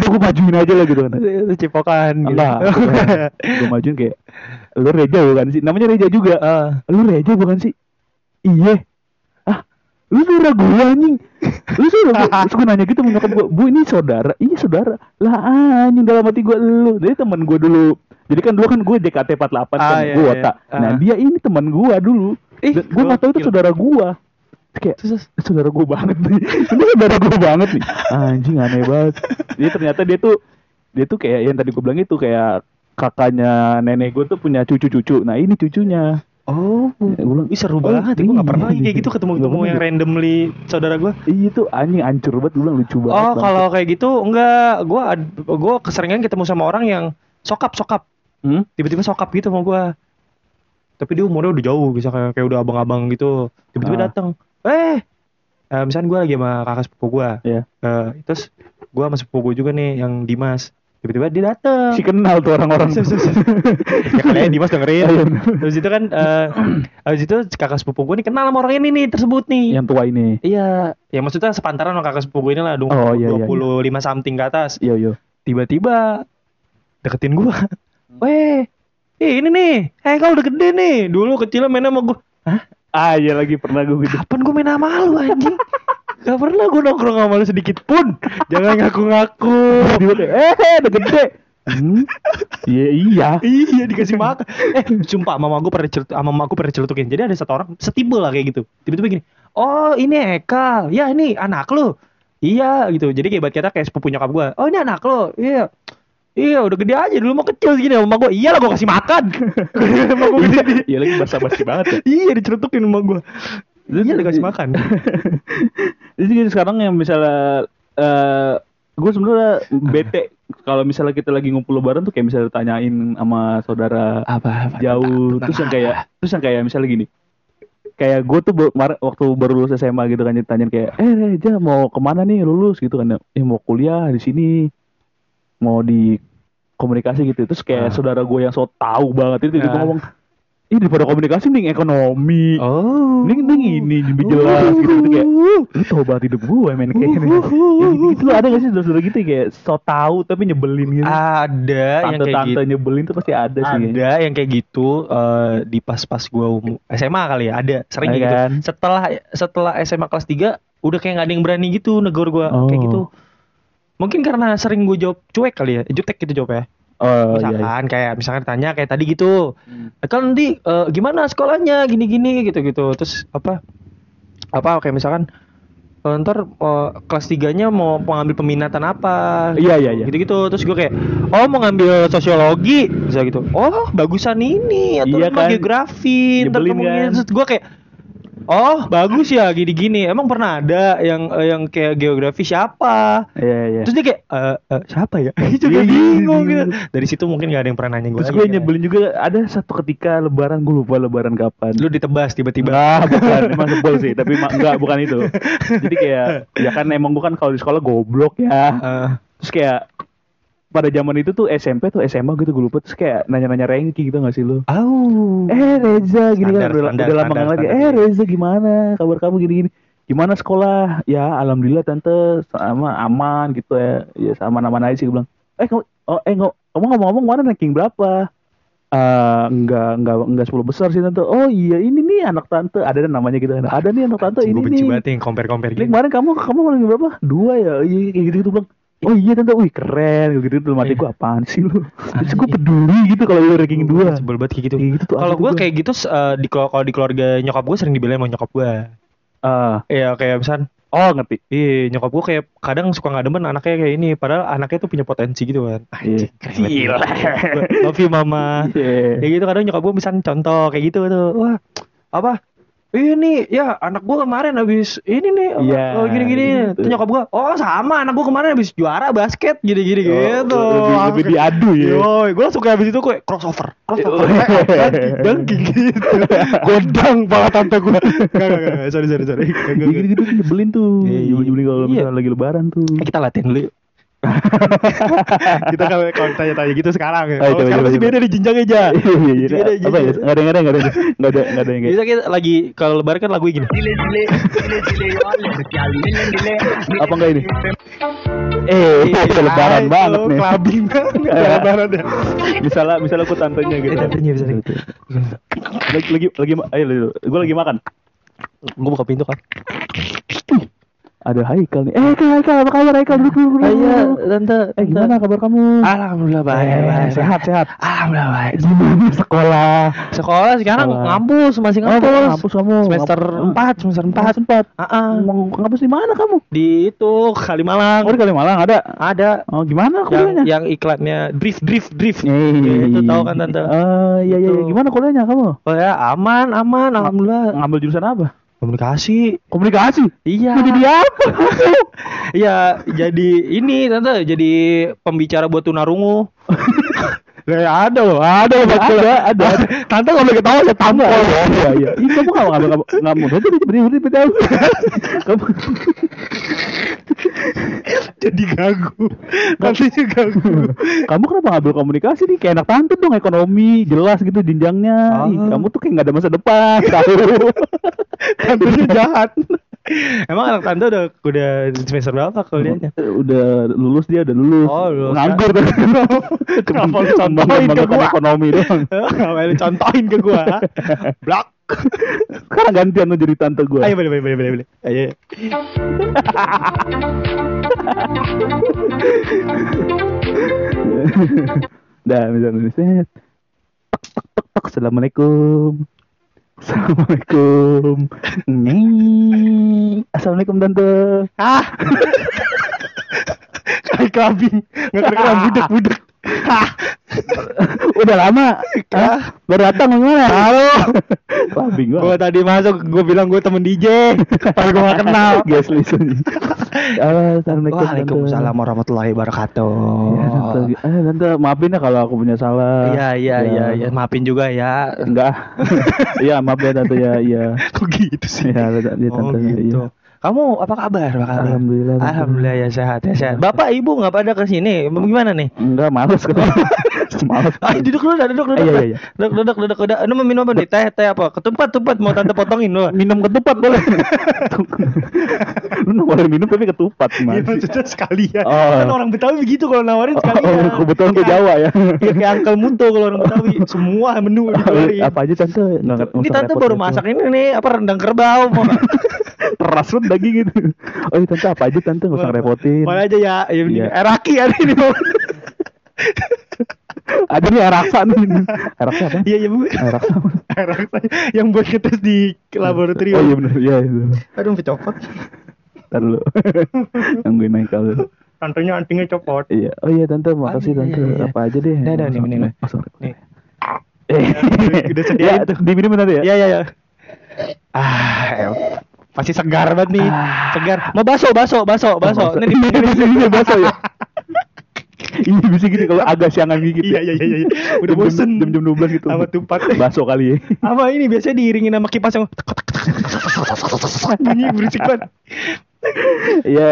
Speaker 2: Duh, gue majuin aja lah gitu kan
Speaker 1: Itu cipokan gitu.
Speaker 2: enggak
Speaker 1: *laughs*
Speaker 2: gue majuin kayak lu Reja bukan sih namanya Reja juga
Speaker 1: Ah.
Speaker 2: lu Reja bukan sih iya ah lu saudara gue anjing lu saudara gue terus gue nanya gitu sama nyokap gue bu ini saudara iya saudara lah ah, anjing dalam hati gue lu dia teman gue dulu jadi kan dulu kan gue JKT 48
Speaker 1: Ah,
Speaker 2: kan
Speaker 1: iya,
Speaker 2: gue
Speaker 1: iya.
Speaker 2: otak nah
Speaker 1: Ah.
Speaker 2: dia ini teman gue dulu
Speaker 1: Ih,
Speaker 2: Dan gue nggak tahu itu
Speaker 1: gokil.
Speaker 2: saudara gue Terus kayak "Eh,
Speaker 1: Terus-
Speaker 2: saudara gue banget nih *laughs* ini saudara gue banget nih anjing aneh banget jadi ternyata dia tuh dia tuh kayak yang tadi gue bilang itu kayak kakaknya nenek gue tuh punya cucu-cucu nah ini cucunya
Speaker 1: Oh,
Speaker 2: Ya, gua bilang,
Speaker 1: Ih, seru
Speaker 2: "Oh,
Speaker 1: banget. Gue gak
Speaker 2: iya,
Speaker 1: pernah lagi
Speaker 2: iya,
Speaker 1: kayak
Speaker 2: iya.
Speaker 1: gitu ketemu
Speaker 2: Nggak
Speaker 1: ketemu
Speaker 2: pernah
Speaker 1: yang
Speaker 2: juga.
Speaker 1: randomly saudara gue.
Speaker 2: Iya itu anjing hancur banget gue bilang lucu banget.
Speaker 1: Oh,
Speaker 2: Bang.
Speaker 1: kalau kayak gitu enggak. Gue gue keseringan ketemu sama orang yang sokap sokap.
Speaker 2: Hmm?
Speaker 1: Tiba-tiba sokap gitu sama gue. Tapi dia umurnya udah jauh, bisa kayak kayak udah abang-abang gitu.
Speaker 2: Ah.
Speaker 1: Tiba-tiba datang. Eh, eh, misalnya gue lagi sama kakak sepupu gue.
Speaker 2: Iya.
Speaker 1: Eh, terus gue sama sepupu gue juga nih yang Dimas. Tiba-tiba dia datang.
Speaker 2: *laughs* Si kenal tuh orang-orang.
Speaker 1: Sus,
Speaker 2: *laughs*
Speaker 1: sus, sus. ya kali aja Dimas dengerin
Speaker 2: Iya, bener.
Speaker 1: Terus itu kan eh Habis itu kakak sepupu gue nih kenal sama orang ini nih tersebut nih
Speaker 2: Yang tua ini.
Speaker 1: Iya Ya maksudnya sepantaran sama kakak sepupu gue ini lah dong,
Speaker 2: Oh, iya, iya,
Speaker 1: 25 something ke atas
Speaker 2: Yo yo.
Speaker 1: Tiba-tiba Deketin gue Weh Ih ini nih Eh kau udah gede nih Dulu kecilnya main sama gue Hah?
Speaker 2: Ah iya lagi pernah gue gitu.
Speaker 1: Kapan gue main sama lu anjing? Gak pernah gue nongkrong sama lu sedikit pun Jangan ngaku-ngaku
Speaker 2: Tiba-tiba kayak, eh eh, udah gede. Hmm? Iya iya.
Speaker 1: Iya dikasih makan. Eh, sumpah mama gue pernah cerita, mama gue pernah celutukin. Jadi ada satu orang setipe lah kayak gitu. Tiba-tiba gini, oh ini Eka, ya ini anak lo. Iya gitu. Jadi kayak ibarat kata kayak sepupu nyokap gue. Oh ini anak lo, iya. Iya udah gede aja dulu mau kecil gini sama gue. Iya lah gue kasih makan. Sama gua gini.
Speaker 2: Iya lagi basa-basi banget ya.
Speaker 1: Iya dicelutukin sama gue. Iya dikasih makan.
Speaker 2: *laughs* Jadi kayak sekarang yang misalnya eh gue sebenarnya bete kalau misalnya kita lagi ngumpul lebaran tuh kayak misalnya tanyain sama saudara
Speaker 1: Apa?
Speaker 2: jauh terus yang kayak terus yang kayak misalnya gini kayak gue tuh baru- mar- waktu baru lulus SMA gitu kan ditanyain kayak eh Reja mau kemana nih lulus gitu kan eh mau kuliah di sini mau di komunikasi gitu terus
Speaker 1: Ah.
Speaker 2: kayak saudara gue yang so tahu banget itu tiba
Speaker 1: Ah.
Speaker 2: ngomong Ih daripada komunikasi mending ekonomi.
Speaker 1: Oh.
Speaker 2: Mending mending ini lebih jelas gitu, gitu kayak lu tobat hidup gue men kayak gitu.
Speaker 1: Uhuh.
Speaker 2: Yang gitu, lu ada gak sih saudara gitu kayak so tau tapi nyebelin gitu.
Speaker 1: Ada yang kayak
Speaker 2: Tante-tante
Speaker 1: gitu.
Speaker 2: nyebelin tuh pasti ada sih. kayaknya.
Speaker 1: Ada yang kayak gitu eh, di pas-pas gua um- SMA kali ya, ada sering kayak
Speaker 2: Ada
Speaker 1: gitu.
Speaker 2: kan?
Speaker 1: Setelah setelah SMA kelas 3 udah kayak nggak ada yang berani gitu negor gua
Speaker 2: Oh.
Speaker 1: kayak gitu. Mungkin karena sering gue jawab cuek kali ya, jutek gitu jawabnya.
Speaker 2: Oh iya. iya.
Speaker 1: misalkan kayak misalkan ditanya kayak tadi gitu
Speaker 2: Hmm.
Speaker 1: kan nanti eh, gimana sekolahnya gini-gini gitu-gitu terus apa apa kayak misalkan eh, ntar eh, kelas tiganya mau mengambil peminatan apa gitu.
Speaker 2: Iya, iya, iya.
Speaker 1: gitu-gitu terus gue kayak oh mau ngambil sosiologi bisa gitu oh bagusan ini atau
Speaker 2: Iya
Speaker 1: emang
Speaker 2: kan?
Speaker 1: geografi ntar
Speaker 2: Nyebelin
Speaker 1: kamu
Speaker 2: kan?
Speaker 1: gini." terus gue kayak oh bagus ya gini-gini emang pernah ada yang eh, yang kayak geografi siapa
Speaker 2: Iya iya.
Speaker 1: Terus dia kayak eh eh, siapa ya? *laughs* juga
Speaker 2: Iya, iya,
Speaker 1: bingung
Speaker 2: iya,
Speaker 1: gitu.
Speaker 2: iya.
Speaker 1: Dari situ mungkin gak ada yang pernah nanya kan. gue.
Speaker 2: Terus gue nyebelin juga ada satu ketika lebaran gue lupa lebaran kapan.
Speaker 1: Lu ditebas tiba-tiba.
Speaker 2: Ah,
Speaker 1: *laughs*
Speaker 2: bukan, emang sebel sih, tapi ma- enggak, bukan itu. Jadi kayak, ya kan emang gue kan kalau di sekolah goblok ya.
Speaker 1: Eh,
Speaker 2: Terus kayak, pada zaman itu tuh SMP tuh SMA gitu gue lupa, terus kayak nanya-nanya ranking gitu gak sih lu?
Speaker 1: Au.
Speaker 2: Eh Reza, gini
Speaker 1: Standar,
Speaker 2: kan, udah,
Speaker 1: standar, standar,
Speaker 2: udah lama
Speaker 1: iya.
Speaker 2: nggak lagi.
Speaker 1: standar.
Speaker 2: Eh Reza gimana, kabar kamu gini-gini. Gimana sekolah? Ya alhamdulillah tante sama aman gitu ya. Ya sama aman aja sih gue bilang. Eh kamu oh, eh ngo- kamu ngomong-ngomong kemarin ranking berapa? Eh enggak enggak enggak 10 besar sih tante. Oh iya ini nih anak tante. Ada dan namanya gitu kan. Ada nih anak tante
Speaker 1: Anjing,
Speaker 2: ini
Speaker 1: Gue benci
Speaker 2: nih.
Speaker 1: banget yang compare-compare
Speaker 2: Ini
Speaker 1: gitu.
Speaker 2: kemarin kamu kamu ranking berapa? Dua ya. Iya kayak gitu-gitu bilang. Oh iya tante, wih keren gitu gitu mati
Speaker 1: Iya.
Speaker 2: gue apaan sih
Speaker 1: *laughs*
Speaker 2: lu? Terus gue
Speaker 1: Anjing.
Speaker 2: peduli gitu kalau lu ranking dua.
Speaker 1: Sebel banget kayak gitu.
Speaker 2: Kayak gitu tuh,
Speaker 1: Kalau
Speaker 2: asli
Speaker 1: gue
Speaker 2: tuh
Speaker 1: kayak gitu eh, di kelo- kalau di keluarga nyokap gue sering dibelain sama nyokap gue.
Speaker 2: Ah.
Speaker 1: Iya kayak misal
Speaker 2: Oh ngerti.
Speaker 1: Iya, nyokap gue kayak kadang suka nggak demen anaknya kayak ini, padahal anaknya tuh punya potensi gitu *laughs* kan.
Speaker 2: Iya.
Speaker 1: Gila. Love you mama. ya gitu kadang nyokap gue misalnya contoh kayak gitu tuh wah apa ini ya anak gue kemarin habis ini nih apa,
Speaker 2: Iya,
Speaker 1: oh, gini gini
Speaker 2: gitu.
Speaker 1: Terus nyokap gue oh sama anak gue kemarin habis juara basket gini gini
Speaker 2: Oh,
Speaker 1: gitu
Speaker 2: lebih- lebih diadu ya.
Speaker 1: Yoi, gue suka habis itu gue crossover crossover *laughs*
Speaker 2: Iya.
Speaker 1: dan *laughs* gitu godang banget tante gue Nggak, nggak, nggak, sorry sorry sorry Nggak, nggak, nggak.
Speaker 2: Gitu-gitu tuh nyebelin tuh.
Speaker 1: Iya, iya.
Speaker 2: Nyebelin kalau
Speaker 1: Iya.
Speaker 2: misalnya lagi lebaran tuh.
Speaker 1: Eh, kita latihan dulu yuk. kita *laughs* kalau kalau tanya-tanya gitu sekarang ya.
Speaker 2: Ayo,
Speaker 1: Kalau
Speaker 2: coba,
Speaker 1: sekarang
Speaker 2: coba,
Speaker 1: masih
Speaker 2: coba.
Speaker 1: beda di jenjangnya aja.
Speaker 2: Iya, iya,
Speaker 1: Jadi ada
Speaker 2: iya. Apa ya?
Speaker 1: gitu.
Speaker 2: Nggak ada, nggak ada, nggak ada. Nggak ada, nggak ada yang kayak.
Speaker 1: Bisa kita lagi kalau lebaran kan lagu gini.
Speaker 2: Apa enggak ini? Eh,
Speaker 1: iya.
Speaker 2: bisa lebaran banget nih.
Speaker 1: Kelabing *laughs* banget.
Speaker 2: Iya.
Speaker 1: kan, Lebaran ya.
Speaker 2: Misalnya, misalnya aku tantenya gitu.
Speaker 1: Eh, tantenya bisa gitu.
Speaker 2: Lagi, lagi, lagi, ma- ayo, ayo, gue lagi makan.
Speaker 1: Gue buka pintu kan.
Speaker 2: Ada Haikal nih. Eh, Haikal, Haikal, apa kabar Haikal? Duduk, duduk,
Speaker 1: *laughs*
Speaker 2: duduk.
Speaker 1: tante.
Speaker 2: Eh, gimana kabar kamu?
Speaker 1: Alhamdulillah baik,
Speaker 2: Eh,
Speaker 1: baik.
Speaker 2: sehat, sehat.
Speaker 1: Alhamdulillah baik.
Speaker 2: Gimana sekolah?
Speaker 1: Sekolah sekarang
Speaker 2: Sekolah.
Speaker 1: ngampus, masih
Speaker 2: Oh,
Speaker 1: ngampus.
Speaker 2: ngampus kamu.
Speaker 1: Semester Ah. 4,
Speaker 2: Ngampus.
Speaker 1: semester 4.
Speaker 2: Sempat.
Speaker 1: Heeh.
Speaker 2: Mau ngampus di mana kamu?
Speaker 1: Di itu Kalimalang.
Speaker 2: Oh, di Kalimalang ada.
Speaker 1: Ada
Speaker 2: Oh gimana kuliahnya?
Speaker 1: yang, yang iklannya drift drift drift
Speaker 2: Eh,
Speaker 1: itu tahu kan tante
Speaker 2: Eh, iya iya
Speaker 1: Itu.
Speaker 2: gimana kuliahnya kamu?
Speaker 1: oh ya aman aman alhamdulillah
Speaker 2: Ngambil jurusan apa?
Speaker 1: komunikasi
Speaker 2: Komunikasi.
Speaker 1: iya
Speaker 2: Jadi dia apa?
Speaker 1: *laughs* iya jadi ini tante jadi pembicara buat tunarungu
Speaker 2: *laughs* Ya ada loh, ada loh ada, ada.
Speaker 1: tante nggak boleh ketawa ya
Speaker 2: Tambah. Iya *laughs* iya. Ih, kamu nggak ngambil kamu nggak mau. Berarti berarti berarti berarti
Speaker 1: *laughs*
Speaker 2: kamu. Kamu
Speaker 1: jadi ganggu nantinya *laughs* ganggu
Speaker 2: kamu kenapa ngambil komunikasi nih? Kayak enak tante dong ekonomi jelas gitu jenjangnya. Ih,
Speaker 1: Ah.
Speaker 2: kamu tuh kayak nggak ada masa depan. *laughs* Tahu. kan?
Speaker 1: tante jahat emang anak tante udah udah semester berapa *laughs* kuliahnya
Speaker 2: udah lulus dia udah lulus.
Speaker 1: Oh, lulus.
Speaker 2: Nganggur. kan?
Speaker 1: Kenapa lu contohin ke
Speaker 2: Membanggakan
Speaker 1: gua?
Speaker 2: ekonomi
Speaker 1: *laughs*
Speaker 2: doang.
Speaker 1: Ngapain lu contohin ke gua
Speaker 2: *laughs*
Speaker 1: ha? Blok
Speaker 2: Sekarang gantian lu jadi tante gue.
Speaker 1: Ayo boleh boleh boleh boleh boleh. Ayo ayo.
Speaker 2: *laughs* Dah, misalnya set. Tok tok tok tok. Assalamualaikum. Assalamualaikum. Neng. Assalamualaikum tante.
Speaker 1: Ah. Kali kelabing. Nggak kira-kira *laughs* budak-budak. Ah.
Speaker 2: Udah lama.
Speaker 1: Ah.
Speaker 2: Hah? Baru datang gimana?
Speaker 1: Halo.
Speaker 2: Kelabing
Speaker 1: Gua
Speaker 2: gua.
Speaker 1: tadi masuk, gua bilang gua temen DJ. Tapi gua gak
Speaker 2: *laughs*
Speaker 1: *laughs* kenal.
Speaker 2: Guys, listen. Ah, Assalamualaikum. tante.
Speaker 1: warahmatullahi wabarakatuh.
Speaker 2: Ya, tante. Eh, tante, maafin ya kalau aku punya salah.
Speaker 1: Iya
Speaker 2: Ya.
Speaker 1: iya iya iya maafin juga *laughs* ya.
Speaker 2: Enggak. Iya, maaf ya tante ya. Iya.
Speaker 1: Kok gitu *laughs* sih?
Speaker 2: Iya, tante, iya,
Speaker 1: Oh
Speaker 2: tante,
Speaker 1: gitu.
Speaker 2: iya.
Speaker 1: Kamu apa kabar? Apa kabar?
Speaker 2: Alhamdulillah, tante.
Speaker 1: Alhamdulillah ya sehat ya sehat. Bapak Ibu nggak pada ke sini. Gimana nih? *laughs*
Speaker 2: Enggak, males kalau. Semalam.
Speaker 1: Ayo duduk dulu, duduk duduk.
Speaker 2: Iya, iya, iya.
Speaker 1: Duduk duduk duduk udah. Lu mau minum apa nih? Teh teh apa? Ketupat ketupat mau tante potongin lu.
Speaker 2: minum ketupat
Speaker 1: *laughs*
Speaker 2: boleh. Lu boleh minum tapi ketupat
Speaker 1: Iya
Speaker 2: gimana sih?
Speaker 1: maksudnya sekalian.
Speaker 2: Oh.
Speaker 1: Kan orang Betawi begitu kalau nawarin
Speaker 2: Oh,
Speaker 1: sekalian.
Speaker 2: oh, kebetulan ke
Speaker 1: Kayak-
Speaker 2: Jawa ya. Oh,
Speaker 1: Iya kayak
Speaker 2: *laughs*
Speaker 1: angkel muto kalau orang Betawi. Semua menu dikeluarin.
Speaker 2: Iya, Apa aja tante nggak nggak
Speaker 1: Ini
Speaker 2: usah
Speaker 1: tante
Speaker 2: repot,
Speaker 1: baru
Speaker 2: repot.
Speaker 1: masak ini nih apa rendang kerbau mau nggak?
Speaker 2: Teras banget daging gitu. Oh iya, tante apa aja tante nggak usah repotin.
Speaker 1: Mana aja ya, ya ini
Speaker 2: Iya.
Speaker 1: eraki ya ini mau.
Speaker 2: Ada nih raksa
Speaker 1: *laughs*
Speaker 2: nih. Raksa apa?
Speaker 1: Iya iya bu. *laughs*
Speaker 2: Raksa.
Speaker 1: Erak saya. yang buat ngetes di
Speaker 2: Oh iya
Speaker 1: laboratorium.
Speaker 2: benar. Iya itu.
Speaker 1: Aduh, sampai copot.
Speaker 2: Ntar
Speaker 1: *laughs*
Speaker 2: dulu. Nungguin naik kalau.
Speaker 1: Tantenya antingnya copot.
Speaker 2: Iya. Oh iya tante, makasih
Speaker 1: iya,
Speaker 2: tante.
Speaker 1: iya, iya.
Speaker 2: Apa aja deh.
Speaker 1: Udah, udah, nih, mending,
Speaker 2: Oh, sorry.
Speaker 1: Nih.
Speaker 2: Eh.
Speaker 1: *laughs* Udah sediain
Speaker 2: Ya, diminum nanti ya.
Speaker 1: Iya iya iya. Ah, el. Pasti segar banget nih.
Speaker 2: Ah. Oh,
Speaker 1: Segar. Mau baso, baso, baso, baso.
Speaker 2: *laughs*
Speaker 1: Ini di
Speaker 2: Ini di sini baso ya. Ini bisa gini kalau agak siangan gigit. ya.
Speaker 1: Iya iya iya iya. Udah
Speaker 2: Jam-jam-
Speaker 1: bosen.
Speaker 2: Jam-jam 12 gitu.
Speaker 1: Sama
Speaker 2: *laughs*
Speaker 1: tumpat.
Speaker 2: Baso
Speaker 1: *laughs*
Speaker 2: kali ya.
Speaker 1: Apa ini biasanya diiringin sama kipas yang tek, tek, tek, tek, tek, tek, tek, tek, tek. bunyi berisik banget.
Speaker 2: Iya.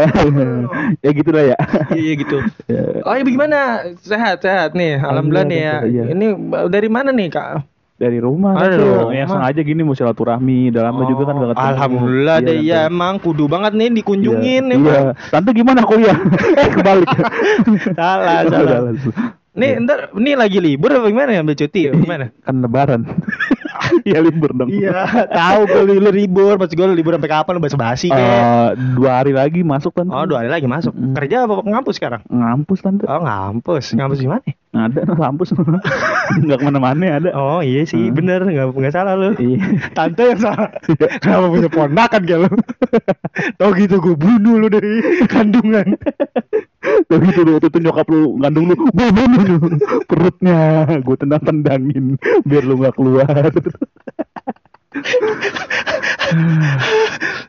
Speaker 2: Ya gitu lah ya.
Speaker 1: Oh. Iya iya gitu.
Speaker 2: *laughs* Ya.
Speaker 1: Oh ya bagaimana? Sehat sehat nih. Alhamdulillah nih ya.
Speaker 2: Iya.
Speaker 1: Ini ba- dari mana nih kak?
Speaker 2: Dari rumah.
Speaker 1: Ada
Speaker 2: Ada
Speaker 1: dari rumah.
Speaker 2: Yang sengaja gini mau silaturahmi. Udah lama juga kan gak ketemu.
Speaker 1: Oh, Alhamdulillah deh
Speaker 2: Tante.
Speaker 1: ya emang kudu banget nih
Speaker 2: Iya.
Speaker 1: dikunjungin
Speaker 2: Iya.
Speaker 1: emang.
Speaker 2: Tante gimana
Speaker 1: *laughs*
Speaker 2: kuliah? Eh kebalik.
Speaker 1: Salah, salah.
Speaker 2: *laughs*
Speaker 1: Nih
Speaker 2: Iya.
Speaker 1: ntar nih lagi libur apa gimana ya ambil cuti ya gimana?
Speaker 2: kan
Speaker 1: *laughs*
Speaker 2: lebaran. Iya libur dong.
Speaker 1: Iya, *laughs* tahu gue li- lu libur, maksud gue lu libur sampai kapan lu basa-basi kek.
Speaker 2: Eh, dua hari lagi masuk tante.
Speaker 1: ya? Oh, dua hari lagi masuk.
Speaker 2: Mm.
Speaker 1: Kerja apa ngampus sekarang?
Speaker 2: Ngampus tante.
Speaker 1: Oh, ngampus. Ngampus di mana?
Speaker 2: Ada *laughs* nah, kampus nggak kemana-mana ada.
Speaker 1: Oh, iya sih,
Speaker 2: Hmm.
Speaker 1: bener nggak nggak salah lu. *laughs*
Speaker 2: Iya.
Speaker 1: Tante yang *laughs* salah. Kenapa punya ponakan kayak lu? *laughs* Tau gitu gue bunuh lu dari *laughs*
Speaker 2: *laughs*
Speaker 1: kandungan.
Speaker 2: Tapi itu lu gitu, itu nyokap lu ngandung lu, gue bunuh lu. *laughs* perutnya, gue tendang tendangin biar lu nggak keluar. *laughs*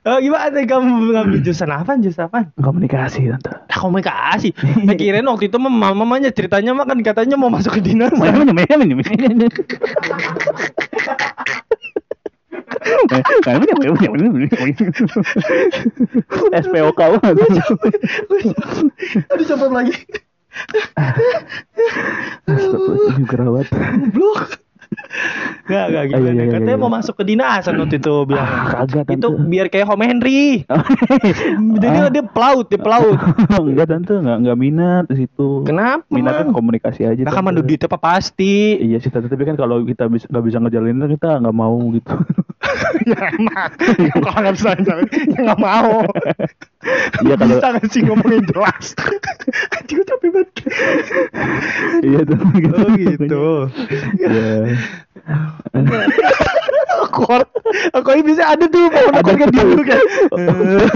Speaker 1: Oh, gimana kamu ngambil jurusan apa? Jurusan apa?
Speaker 2: Komunikasi tante.
Speaker 1: Nah, komunikasi.
Speaker 2: *laughs*
Speaker 1: Nah, kirain waktu itu mama mamanya ceritanya mah kan katanya mau masuk ke
Speaker 2: *laughs*
Speaker 1: dinas.
Speaker 2: Main main main main main main main main main main main SPOK banget.
Speaker 1: Aduh, copot lagi.
Speaker 2: Astagfirullahaladzim, gerah banget.
Speaker 1: Blok. Gak, gak
Speaker 2: Ah,
Speaker 1: gimana.
Speaker 2: iya, iya,
Speaker 1: Katanya
Speaker 2: iya,
Speaker 1: mau
Speaker 2: iya.
Speaker 1: masuk ke dinasan waktu itu bilang.
Speaker 2: Ah, kagak, Tante. Ah.
Speaker 1: itu biar kayak Home Henry. Jadi dia pelaut, dia pelaut.
Speaker 2: enggak tante, enggak enggak minat di situ.
Speaker 1: Kenapa?
Speaker 2: Minatnya
Speaker 1: Mang?
Speaker 2: komunikasi aja.
Speaker 1: Nah, kan
Speaker 2: Tante.
Speaker 1: mandi duit apa pasti.
Speaker 2: Iya sih tante, tapi kan kalau kita bisa nggak bisa ngejalanin kita nggak mau gitu.
Speaker 1: ya *laughs* emang. Kalau nggak bisa, nggak mau.
Speaker 2: Iya, kalau-
Speaker 1: Bisa nggak sih ngomongin
Speaker 2: *laughs*
Speaker 1: jelas? Anjing, gue capek banget.
Speaker 2: iya tuh gitu.
Speaker 1: Oh gitu.
Speaker 2: Iya.
Speaker 1: Kor, Ya, aku ini bisa ada tuh mau
Speaker 2: Ada
Speaker 1: nakor kan
Speaker 2: tuh.
Speaker 1: dulu kan. Eh,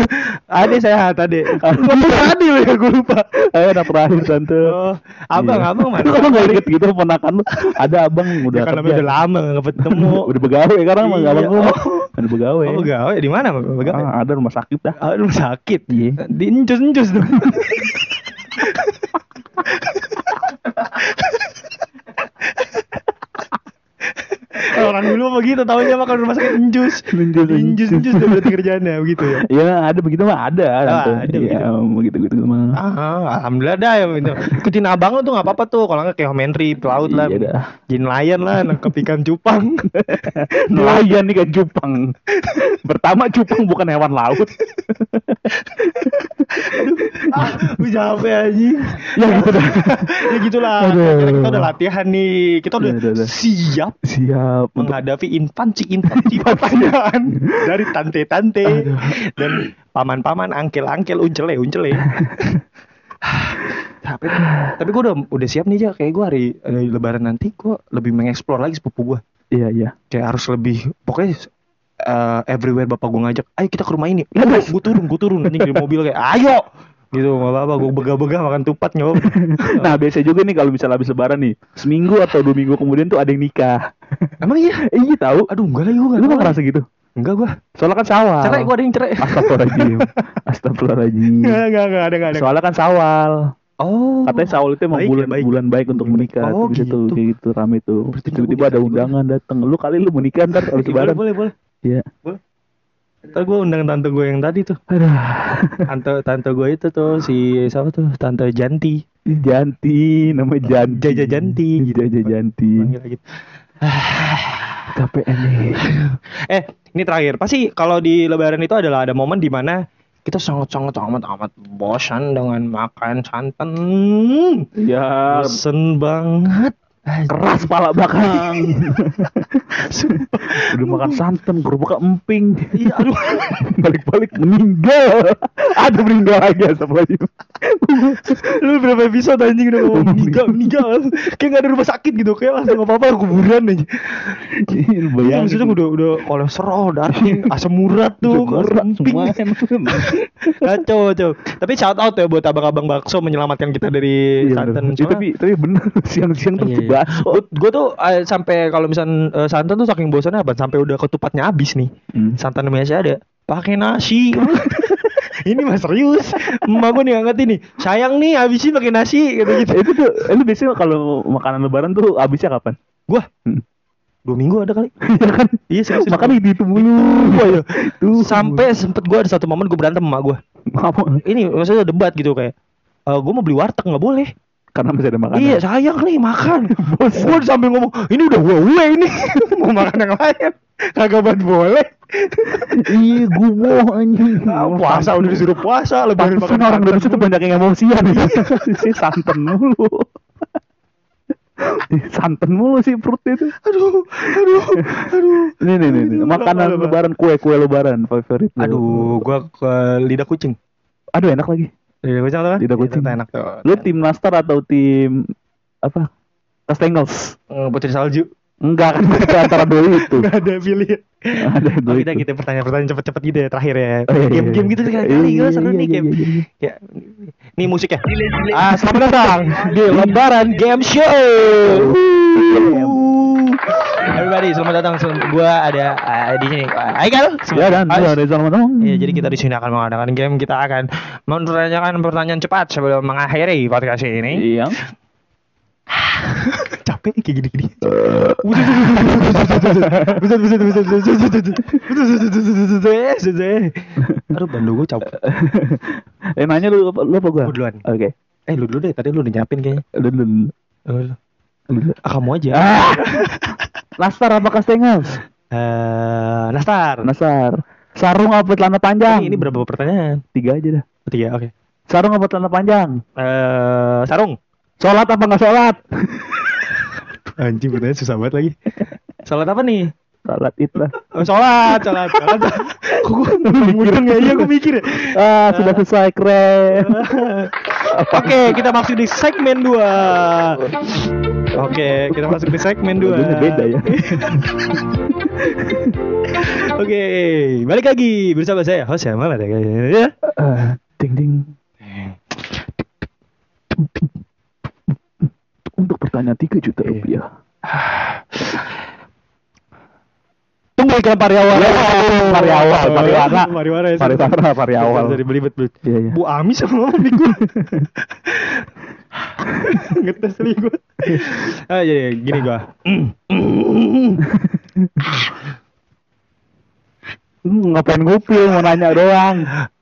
Speaker 1: Ade sehat, Ade. Kamu tadi loh ya gue lupa.
Speaker 2: Eh, anak terakhir tante.
Speaker 1: Oh, abang,
Speaker 2: Iya.
Speaker 1: abang *laughs*
Speaker 2: *laughs*
Speaker 1: mana?
Speaker 2: Lu Kalau nggak inget gitu ponakan lu, ada abang udah
Speaker 1: *laughs* Ya, karena
Speaker 2: kerja.
Speaker 1: udah lama nggak *laughs* ketemu.
Speaker 2: *laughs* udah begawe sekarang mah
Speaker 1: Iya.
Speaker 2: abang lu.
Speaker 1: Oh.
Speaker 2: Udah begawe.
Speaker 1: Oh, gawe di mana? Begawe.
Speaker 2: Ah, ada rumah sakit dah.
Speaker 1: Aduh sakit.
Speaker 2: Iya.
Speaker 1: Di encus-encus tuh. Orang dulu begitu taunya makan rumah sakit encus.
Speaker 2: Encus,
Speaker 1: Di Encus-encus tuh berarti kerjaannya begitu ya.
Speaker 2: Iya, ada begitu mah ada. tante.
Speaker 1: Ah, ada
Speaker 2: Iya, begitu gitu mah.
Speaker 1: Ah, alhamdulillah dah ya itu. Ikutin abang lu tuh nggak apa-apa tuh, kalau nggak kayak Henry pelaut lah,
Speaker 2: Iya
Speaker 1: *laughs*
Speaker 2: dah.
Speaker 1: jadi nelayan lah, nangkep ikan *laughs* cupang.
Speaker 2: Nelayan nih kan cupang. Pertama cupang bukan hewan
Speaker 1: *laughs*
Speaker 2: laut.
Speaker 1: ah, lu capek anjing.
Speaker 2: ya gitu dah.
Speaker 1: ya gitulah.
Speaker 2: Aduh.
Speaker 1: Akhirnya kita udah latihan nih, kita udah
Speaker 2: Iya, udah, udah.
Speaker 1: siap
Speaker 2: Siap untuk
Speaker 1: menghadapi *laughs* infansi-infansi pertanyaan dari tante-tante dan paman-paman, angkel-angkel, uncele-uncele. *sighs* tapi tapi gue udah udah siap nih aja kayak gue hari, hari lebaran nanti gue lebih mengeksplor lagi sepupu gue
Speaker 2: Iya iya.
Speaker 1: *laughs* kayak harus lebih pokoknya eh, everywhere bapak gue ngajak ayo kita ke rumah ini
Speaker 2: Ya, Mas.
Speaker 1: gue turun gue turun anjing dari mobil kayak ayo gitu nggak apa-apa gue begah-begah makan tupat nyoba
Speaker 2: Nah biasa juga nih kalau misalnya habis lebaran nih seminggu atau dua minggu kemudian tuh ada yang nikah.
Speaker 1: emang iya
Speaker 2: Eh, iya tahu.
Speaker 1: aduh enggak lah gue
Speaker 2: Lu nggak ngerasa gitu?
Speaker 1: enggak gue
Speaker 2: Soalnya kan sawal.
Speaker 1: cerai gue ada yang cerai *laughs*
Speaker 2: Astagfirullahaladzim. Astagfirullahaladzim.
Speaker 1: enggak enggak enggak ada enggak ada
Speaker 2: Soalnya kan sawal.
Speaker 1: oh
Speaker 2: Katanya sawal itu emang
Speaker 1: Baik ya,
Speaker 2: bulan
Speaker 1: baik.
Speaker 2: bulan baik untuk
Speaker 1: Bulan baik.
Speaker 2: menikah.
Speaker 1: Oh,
Speaker 2: Tuh, bisa tuh,
Speaker 1: gitu.
Speaker 2: kayak gitu rame tuh.
Speaker 1: Berarti ya.
Speaker 2: Tiba-tiba
Speaker 1: gua
Speaker 2: ada
Speaker 1: bisa juga.
Speaker 2: undangan datang. Lu kali lu mau nikah ntar
Speaker 1: Ih,
Speaker 2: habis
Speaker 1: boleh
Speaker 2: lebaran.
Speaker 1: boleh boleh
Speaker 2: Iya.
Speaker 1: Ntar gue undang tante gue yang tadi tuh
Speaker 2: Aduh. *laughs*
Speaker 1: Tante tante gue itu tuh Si siapa tuh Tante Janti
Speaker 2: Ih, Janti, nama Janti.
Speaker 1: Jaja Janti, gitu.
Speaker 2: Jaja Janti.
Speaker 1: Panggil gitu.
Speaker 2: Capek aneh.
Speaker 1: Eh, ini terakhir. Pasti kalau di lebaran itu adalah ada momen di mana kita sangat-sangat amat-amat bosan dengan makan santan. Iya.
Speaker 2: Ya,
Speaker 1: Bosan banget.
Speaker 2: keras pala
Speaker 1: *laughs*
Speaker 2: belakang. Udah makan santan, kerupuk emping. *laughs*
Speaker 1: Iya, aduh.
Speaker 2: Balik-balik meninggal. Ada meninggal lagi astagfirullahaladzim.
Speaker 1: Lu berapa episode anjing udah ngomong meninggal, meninggal. Kayak gak ada rumah sakit gitu. Kayak langsung apa-apa kuburan aja.
Speaker 2: Gila,
Speaker 1: Ya,
Speaker 2: Bayangin.
Speaker 1: maksudnya udah udah kolesterol,
Speaker 2: *laughs*
Speaker 1: darahnya asam urat tuh,
Speaker 2: Gerak semua.
Speaker 1: emping.
Speaker 2: *laughs*
Speaker 1: Kacau, kacau. Tapi shout out ya buat abang-abang bakso menyelamatkan kita dari
Speaker 2: Iya,
Speaker 1: santan.
Speaker 2: bener. Eh, tapi tapi bener *laughs* siang-siang tuh
Speaker 1: Iya,
Speaker 2: bakso.
Speaker 1: Gue tuh eh, sampai kalau misalnya eh, santan tuh saking bosannya apa? Sampai udah ketupatnya habis nih.
Speaker 2: Hmm.
Speaker 1: Santan masih ada. Pakai
Speaker 2: *laughs*
Speaker 1: nasi. ini mah serius. Emak gue nih angkat ini. Sayang nih habisin pakai nasi gitu. gitu-gitu.
Speaker 2: Itu tuh, eh, lu biasanya kalau makanan lebaran tuh habisnya kapan? *laughs*
Speaker 1: Gua
Speaker 2: Hmm.
Speaker 1: dua minggu ada kali.
Speaker 2: Iya kan?
Speaker 1: Iya serius.
Speaker 2: Makan itu itu mulu. ya. Itu.
Speaker 1: sampai sempet gue ada satu momen gue berantem sama gue.
Speaker 2: Apa?
Speaker 1: Ini maksudnya debat gitu kayak. Eh gue mau beli warteg nggak boleh.
Speaker 2: Karena masih ada makanan.
Speaker 1: Iya sayang nih
Speaker 2: *laughs*
Speaker 1: makan. gue sambil ngomong ini udah gue gue ini *laughs* mau makan yang lain. Kagak banget
Speaker 2: *laughs*
Speaker 1: boleh.
Speaker 2: Iya, gumoh *laughs* anjing.
Speaker 1: Ah, puasa udah disuruh puasa lebaran
Speaker 2: Pantesan
Speaker 1: makan
Speaker 2: orang
Speaker 1: santan
Speaker 2: Indonesia tuh
Speaker 1: mulu.
Speaker 2: banyak yang *laughs* emosian ya. si santan mulu. *laughs* Ih, santan mulu sih perutnya tuh.
Speaker 1: Aduh, aduh, aduh.
Speaker 2: Nih nih nih, nih.
Speaker 1: Aduh,
Speaker 2: makanan
Speaker 1: lama-lama.
Speaker 2: lebaran kue-kue lebaran favorit. lu.
Speaker 1: Aduh, gua ke lidah kucing.
Speaker 2: Aduh enak lagi.
Speaker 1: Lidah kucing tau kan?
Speaker 2: Lidah kucing.
Speaker 1: Itu enak tuh.
Speaker 2: Lu tim nastar atau tim apa? Kastengels.
Speaker 1: Eh, putri salju.
Speaker 2: Enggak kan *laughs* itu antara dua itu.
Speaker 1: *laughs* Gak ada pilihan.
Speaker 2: Ada
Speaker 1: Oh,
Speaker 2: dua
Speaker 1: kita
Speaker 2: itu.
Speaker 1: gitu pertanyaan-pertanyaan cepet-cepet gitu ya terakhir ya.
Speaker 2: Oh, iya, iya,
Speaker 1: Game-game
Speaker 2: iya.
Speaker 1: gitu sekali
Speaker 2: Iya,
Speaker 1: kali
Speaker 2: iya,
Speaker 1: gua seru
Speaker 2: iya,
Speaker 1: nih
Speaker 2: iya,
Speaker 1: game.
Speaker 2: iya, iya.
Speaker 1: Ya. Nih musik ya. Ah, selamat datang di Lebaran Game Show. Iya, Everybody, selamat datang. Sel- Gua ada ah, di sini. Ah, Haikal.
Speaker 2: Ya dan
Speaker 1: Ah,
Speaker 2: ada sama teman.
Speaker 1: Iya, jadi kita di sini akan mengadakan game. Kita akan menanyakan pertanyaan cepat sebelum mengakhiri podcast ini.
Speaker 2: Iya.
Speaker 1: Capek nih kayak gini-gini. Aduh, bandu gue capek.
Speaker 2: eh nanya lu apa lu apa gua?
Speaker 1: Gua duluan.
Speaker 2: Oke.
Speaker 1: Eh, lu dulu deh. Tadi lu udah nyiapin kayaknya.
Speaker 2: Lu dulu.
Speaker 1: Lu dulu.
Speaker 2: Lu dulu.
Speaker 1: Ah, kamu aja.
Speaker 2: Ah. Nastar apa kastengels?
Speaker 1: Eh, Nastar.
Speaker 2: Nastar. Sarung apa celana panjang?
Speaker 1: Ini, ini berapa pertanyaan?
Speaker 2: tiga aja dah.
Speaker 1: Tiga, oke.
Speaker 2: Sarung apa celana panjang?
Speaker 1: Eh, sarung.
Speaker 2: Sholat apa nggak sholat? *laughs*
Speaker 1: Anjing, pertanyaan susah banget lagi. Salat apa nih?
Speaker 2: sholat itu lah.
Speaker 1: Oh, sholat, sholat, sholat. Kok gue mudeng ya? Iya, gue mikir ya.
Speaker 2: Ah, sudah selesai keren.
Speaker 1: *laughs* Oke, kita masuk di segmen 2. Oke, kita masuk di segmen 2.
Speaker 2: Lagunya beda ya.
Speaker 1: Oke, balik lagi bersama saya host yang malah ya.
Speaker 2: Eh, ding ding. Untuk pertanyaan 3 juta
Speaker 1: Iya.
Speaker 2: rupiah.
Speaker 1: Tunggu iklan Ya, Pariawan.
Speaker 2: Pariawan, Pariwana.
Speaker 1: Pariwana ya.
Speaker 2: Pariwana, Pariawan.
Speaker 1: Dari belibet belibet.
Speaker 2: Iya, iya.
Speaker 1: Bu *laughs* Ami sama Mami gue. *laughs* Ngetes nih gue. Ah, jadi gini *laughs* gue.
Speaker 2: Hmm, ngapain ngupil mau nanya doang.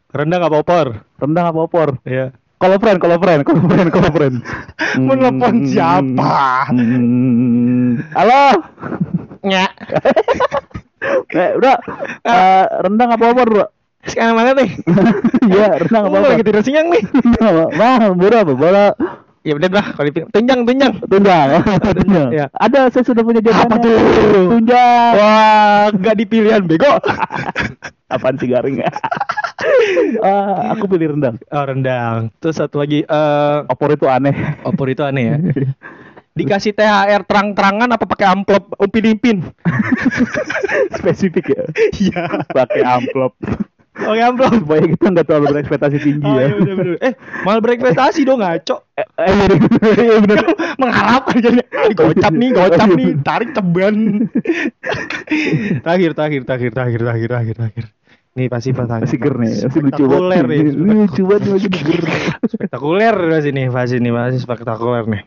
Speaker 1: Rendang apa opor?
Speaker 2: Rendang apa opor?
Speaker 1: Iya. Hmm.
Speaker 2: Kalau friend, kalau friend, kalau friend, kalau friend.
Speaker 1: Menelpon siapa?
Speaker 2: Hmm. Halo. *laughs*
Speaker 1: *laughs* Nyak.
Speaker 2: Eh, udah.
Speaker 1: Ah.
Speaker 2: Eh, rendang apa opor, Bro? *laughs*
Speaker 1: Eh, Sekarang mana nih?
Speaker 2: Iya, rendang apa
Speaker 1: Gua
Speaker 2: opor?
Speaker 1: lagi tidur siang *laughs* nih.
Speaker 2: Wah, murah apa? Bola
Speaker 1: Ya udah lah, kalau dipin- tunjang tunjang.
Speaker 2: *laughs* tunjang. tunjang.
Speaker 1: Iya.
Speaker 2: Ada saya sudah punya jawabannya.
Speaker 1: Apa tuh?
Speaker 2: Tunjang.
Speaker 1: Wah, nggak di pilihan bego. *laughs*
Speaker 2: Apaan sih *laughs* garing? Ah, aku pilih rendang.
Speaker 1: Oh, rendang. Terus satu lagi eh
Speaker 2: Opor itu aneh.
Speaker 1: opor itu aneh ya. Dikasih THR terang-terangan apa pakai amplop oh, upin-ipin?
Speaker 2: *laughs*
Speaker 1: *laughs*
Speaker 2: Spesifik ya.
Speaker 1: Iya.
Speaker 2: Pakai amplop.
Speaker 1: Pakai amplop.
Speaker 2: Supaya kita nggak terlalu berekspektasi tinggi
Speaker 1: Oh,
Speaker 2: ya.
Speaker 1: iya, bener, bener. Eh, malah berprestasi dong ngaco.
Speaker 2: Eh, eh, iya, *laughs* iya,
Speaker 1: *laughs*
Speaker 2: bener.
Speaker 1: Mengharapkan jadi "Ah, gocap nih, gocap nih, tarik
Speaker 2: *laughs*
Speaker 1: ceban. terakhir, terakhir, terakhir, terakhir, terakhir, terakhir, terakhir. Nih pasti pertanyaan.
Speaker 2: Masih ger nih, masih lucu
Speaker 1: Spektakuler
Speaker 2: banget.
Speaker 1: nih.
Speaker 2: Lucu banget masih ger.
Speaker 1: *laughs* Spektakuler di sini, pasti nih, pasti spektakuler *laughs* nih.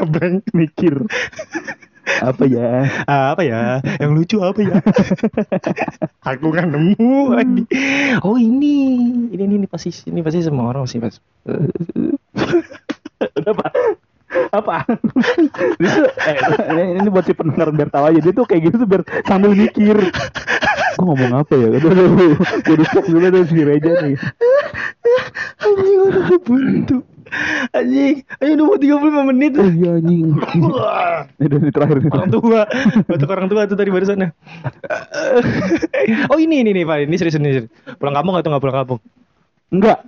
Speaker 1: Ngeblank.
Speaker 2: Mikir. apa ya
Speaker 1: Ah, apa ya yang lucu apa ya *laughs*
Speaker 2: ya?
Speaker 1: aku nggak nemu lagi oh ini ini ini, ini pasti ini pasti semua orang sih *laughs* pas
Speaker 2: udah apa apa Dia tuh, eh, ini, ini buat si pendengar biar tahu aja dia tuh kayak gitu tuh biar sambil mikir gue ngomong apa ya udah udah udah udah stop dulu dari si Reja nih
Speaker 1: anjing udah buntu anjing anjing udah mau 35 menit
Speaker 2: oh iya anjing
Speaker 1: Wah,
Speaker 2: ini udah ini terakhir nih
Speaker 1: orang tua batuk orang tua tuh tadi barusan ya oh ini ini nih pak ini serius ini serius. pulang kampung atau nggak pulang kampung
Speaker 2: enggak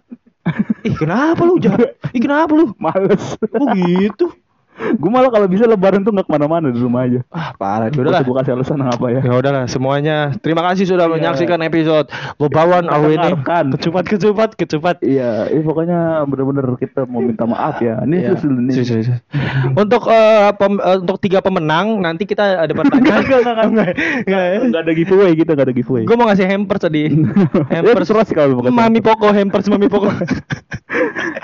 Speaker 1: ih kenapa lu jahat ih kenapa lu
Speaker 2: males
Speaker 1: kok gitu
Speaker 2: gue malah kalau bisa lebaran tuh nggak kemana-mana di rumah aja
Speaker 1: ah parah udah
Speaker 2: Gua
Speaker 1: lah
Speaker 2: tuh bukan kasih alasan apa ya
Speaker 1: Ya udahlah semuanya. Terima kasih sudah menyaksikan episode Bebawan Awe ini.
Speaker 2: Mendengarkan.
Speaker 1: Iya. Kecupat kecupat kecupat.
Speaker 2: Iya, eh, pokoknya bener-bener kita mau minta maaf ya. Ini
Speaker 1: Ya.
Speaker 2: serius dulu nih.
Speaker 1: Serius, serius, serius. untuk eh, pem- eh, untuk tiga pemenang nanti kita ada pertanyaan.
Speaker 2: *laughs* Enggak, enggak, enggak. Enggak ada giveaway gitu, enggak ada giveaway.
Speaker 1: Gue mau ngasih hampers tadi. hampers
Speaker 2: terserah sih kalau lu mau kasih
Speaker 1: Mami Poko hampers Mami
Speaker 2: *laughs*
Speaker 1: Poko.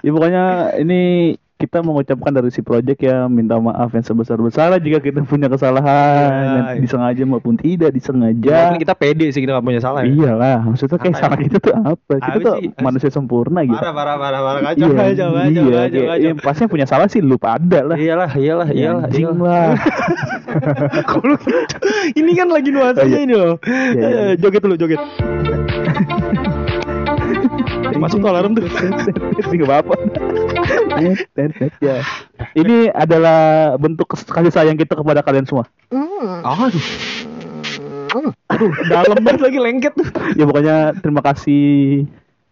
Speaker 2: Ya pokoknya ini kita mengucapkan dari si project ya minta maaf yang sebesar-besarnya jika kita punya kesalahan
Speaker 1: Iya,
Speaker 2: yang
Speaker 1: iya.
Speaker 2: disengaja maupun tidak disengaja.
Speaker 1: Walaupun kita pede sih kita gak punya salah. ya.
Speaker 2: Iyalah, maksudnya
Speaker 1: Apa
Speaker 2: kayak salah
Speaker 1: ya?
Speaker 2: kita tuh apa? Kita
Speaker 1: Apa
Speaker 2: tuh
Speaker 1: sih?
Speaker 2: manusia sempurna gitu.
Speaker 1: Parah parah parah parah kacau
Speaker 2: Iya,
Speaker 1: kacau kacau
Speaker 2: iya,
Speaker 1: kacau
Speaker 2: kayak-
Speaker 1: kacau.
Speaker 2: iya, pasti yang punya salah sih lu pada lah. Iya,
Speaker 1: Iyalah iyalah iyalah.
Speaker 2: Anjing
Speaker 1: iyalah. *laughs*
Speaker 2: lah. *laughs*
Speaker 1: Kalau gitu, ini kan lagi nuansanya
Speaker 2: Oh, iya.
Speaker 1: ini loh.
Speaker 2: Iya, iya.
Speaker 1: Eh, Joget dulu, joget. Masuk tuh
Speaker 2: *laughs*
Speaker 1: alarm tuh.
Speaker 2: Tiga
Speaker 1: *laughs*
Speaker 2: bapak. Tet, tet, tet, ya. Ini adalah bentuk kes- kasih sayang kita kepada kalian semua.
Speaker 1: Aduh. Aduh, dalam banget lagi lengket tuh.
Speaker 2: Ya pokoknya terima kasih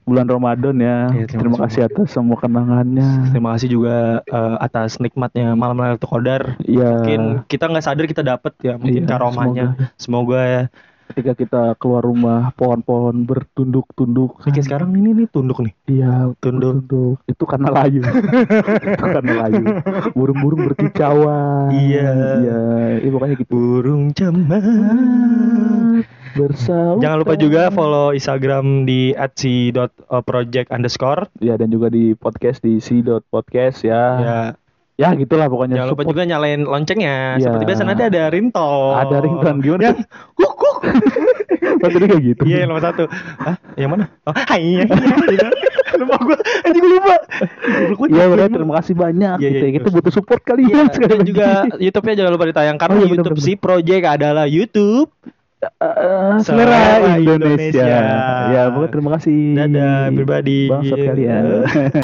Speaker 2: bulan Ramadan ya.
Speaker 1: Iya, terima
Speaker 2: terima, kasih atas semua kenangannya.
Speaker 1: Terima kasih juga eh, atas nikmatnya malam Lailatul Qadar.
Speaker 2: Ya,
Speaker 1: Mungkin kita nggak sadar kita dapet ya mungkin
Speaker 2: Iya,
Speaker 1: karomahnya. Semoga ya.
Speaker 2: ketika kita keluar rumah pohon-pohon bertunduk-tunduk.
Speaker 1: Kayak sekarang ini nih tunduk nih.
Speaker 2: Iya,
Speaker 1: Tunduk.
Speaker 2: bertunduk. Itu karena layu. Itu karena layu. Burung-burung berkicauan.
Speaker 1: Iya.
Speaker 2: Iya, ya, pokoknya gitu.
Speaker 1: Burung cemas.
Speaker 2: Bersama.
Speaker 1: Jangan lupa juga follow Instagram di @si.project underscore.
Speaker 2: Ya dan juga di podcast di si.podcast ya.
Speaker 1: Ya,
Speaker 2: Ya, gitulah pokoknya.
Speaker 1: Jangan lupa
Speaker 2: Support-
Speaker 1: juga nyalain loncengnya.
Speaker 2: Iya.
Speaker 1: Seperti biasa nanti ada ringtone.
Speaker 2: Ada ringtone, gimana?
Speaker 1: Yang kuk kuk.
Speaker 2: Tadi kayak gitu.
Speaker 1: Ya. *laughs* Iya, yang nomor satu. Hah? Yang mana? Oh, hai. hai, hai. *laughs* lupa gua. Anjing gua lupa. Goblok banget.
Speaker 2: Iya, bener, terima kasih banyak.
Speaker 1: Iya, iya,
Speaker 2: gitu ya. Kita
Speaker 1: terus.
Speaker 2: butuh support kalian
Speaker 1: Iya,
Speaker 2: sekali
Speaker 1: dan
Speaker 2: lagi.
Speaker 1: juga *laughs* YouTube-nya jangan lupa ditayangkan
Speaker 2: Oh, iya, bener,
Speaker 1: YouTube
Speaker 2: bener.
Speaker 1: si Project adalah YouTube.
Speaker 2: Eh,
Speaker 1: Selera
Speaker 2: selera Indonesia.
Speaker 1: Indonesia.
Speaker 2: Ya, pokoknya terima kasih.
Speaker 1: Dadah everybody. *laughs*
Speaker 2: Bangsat kalian.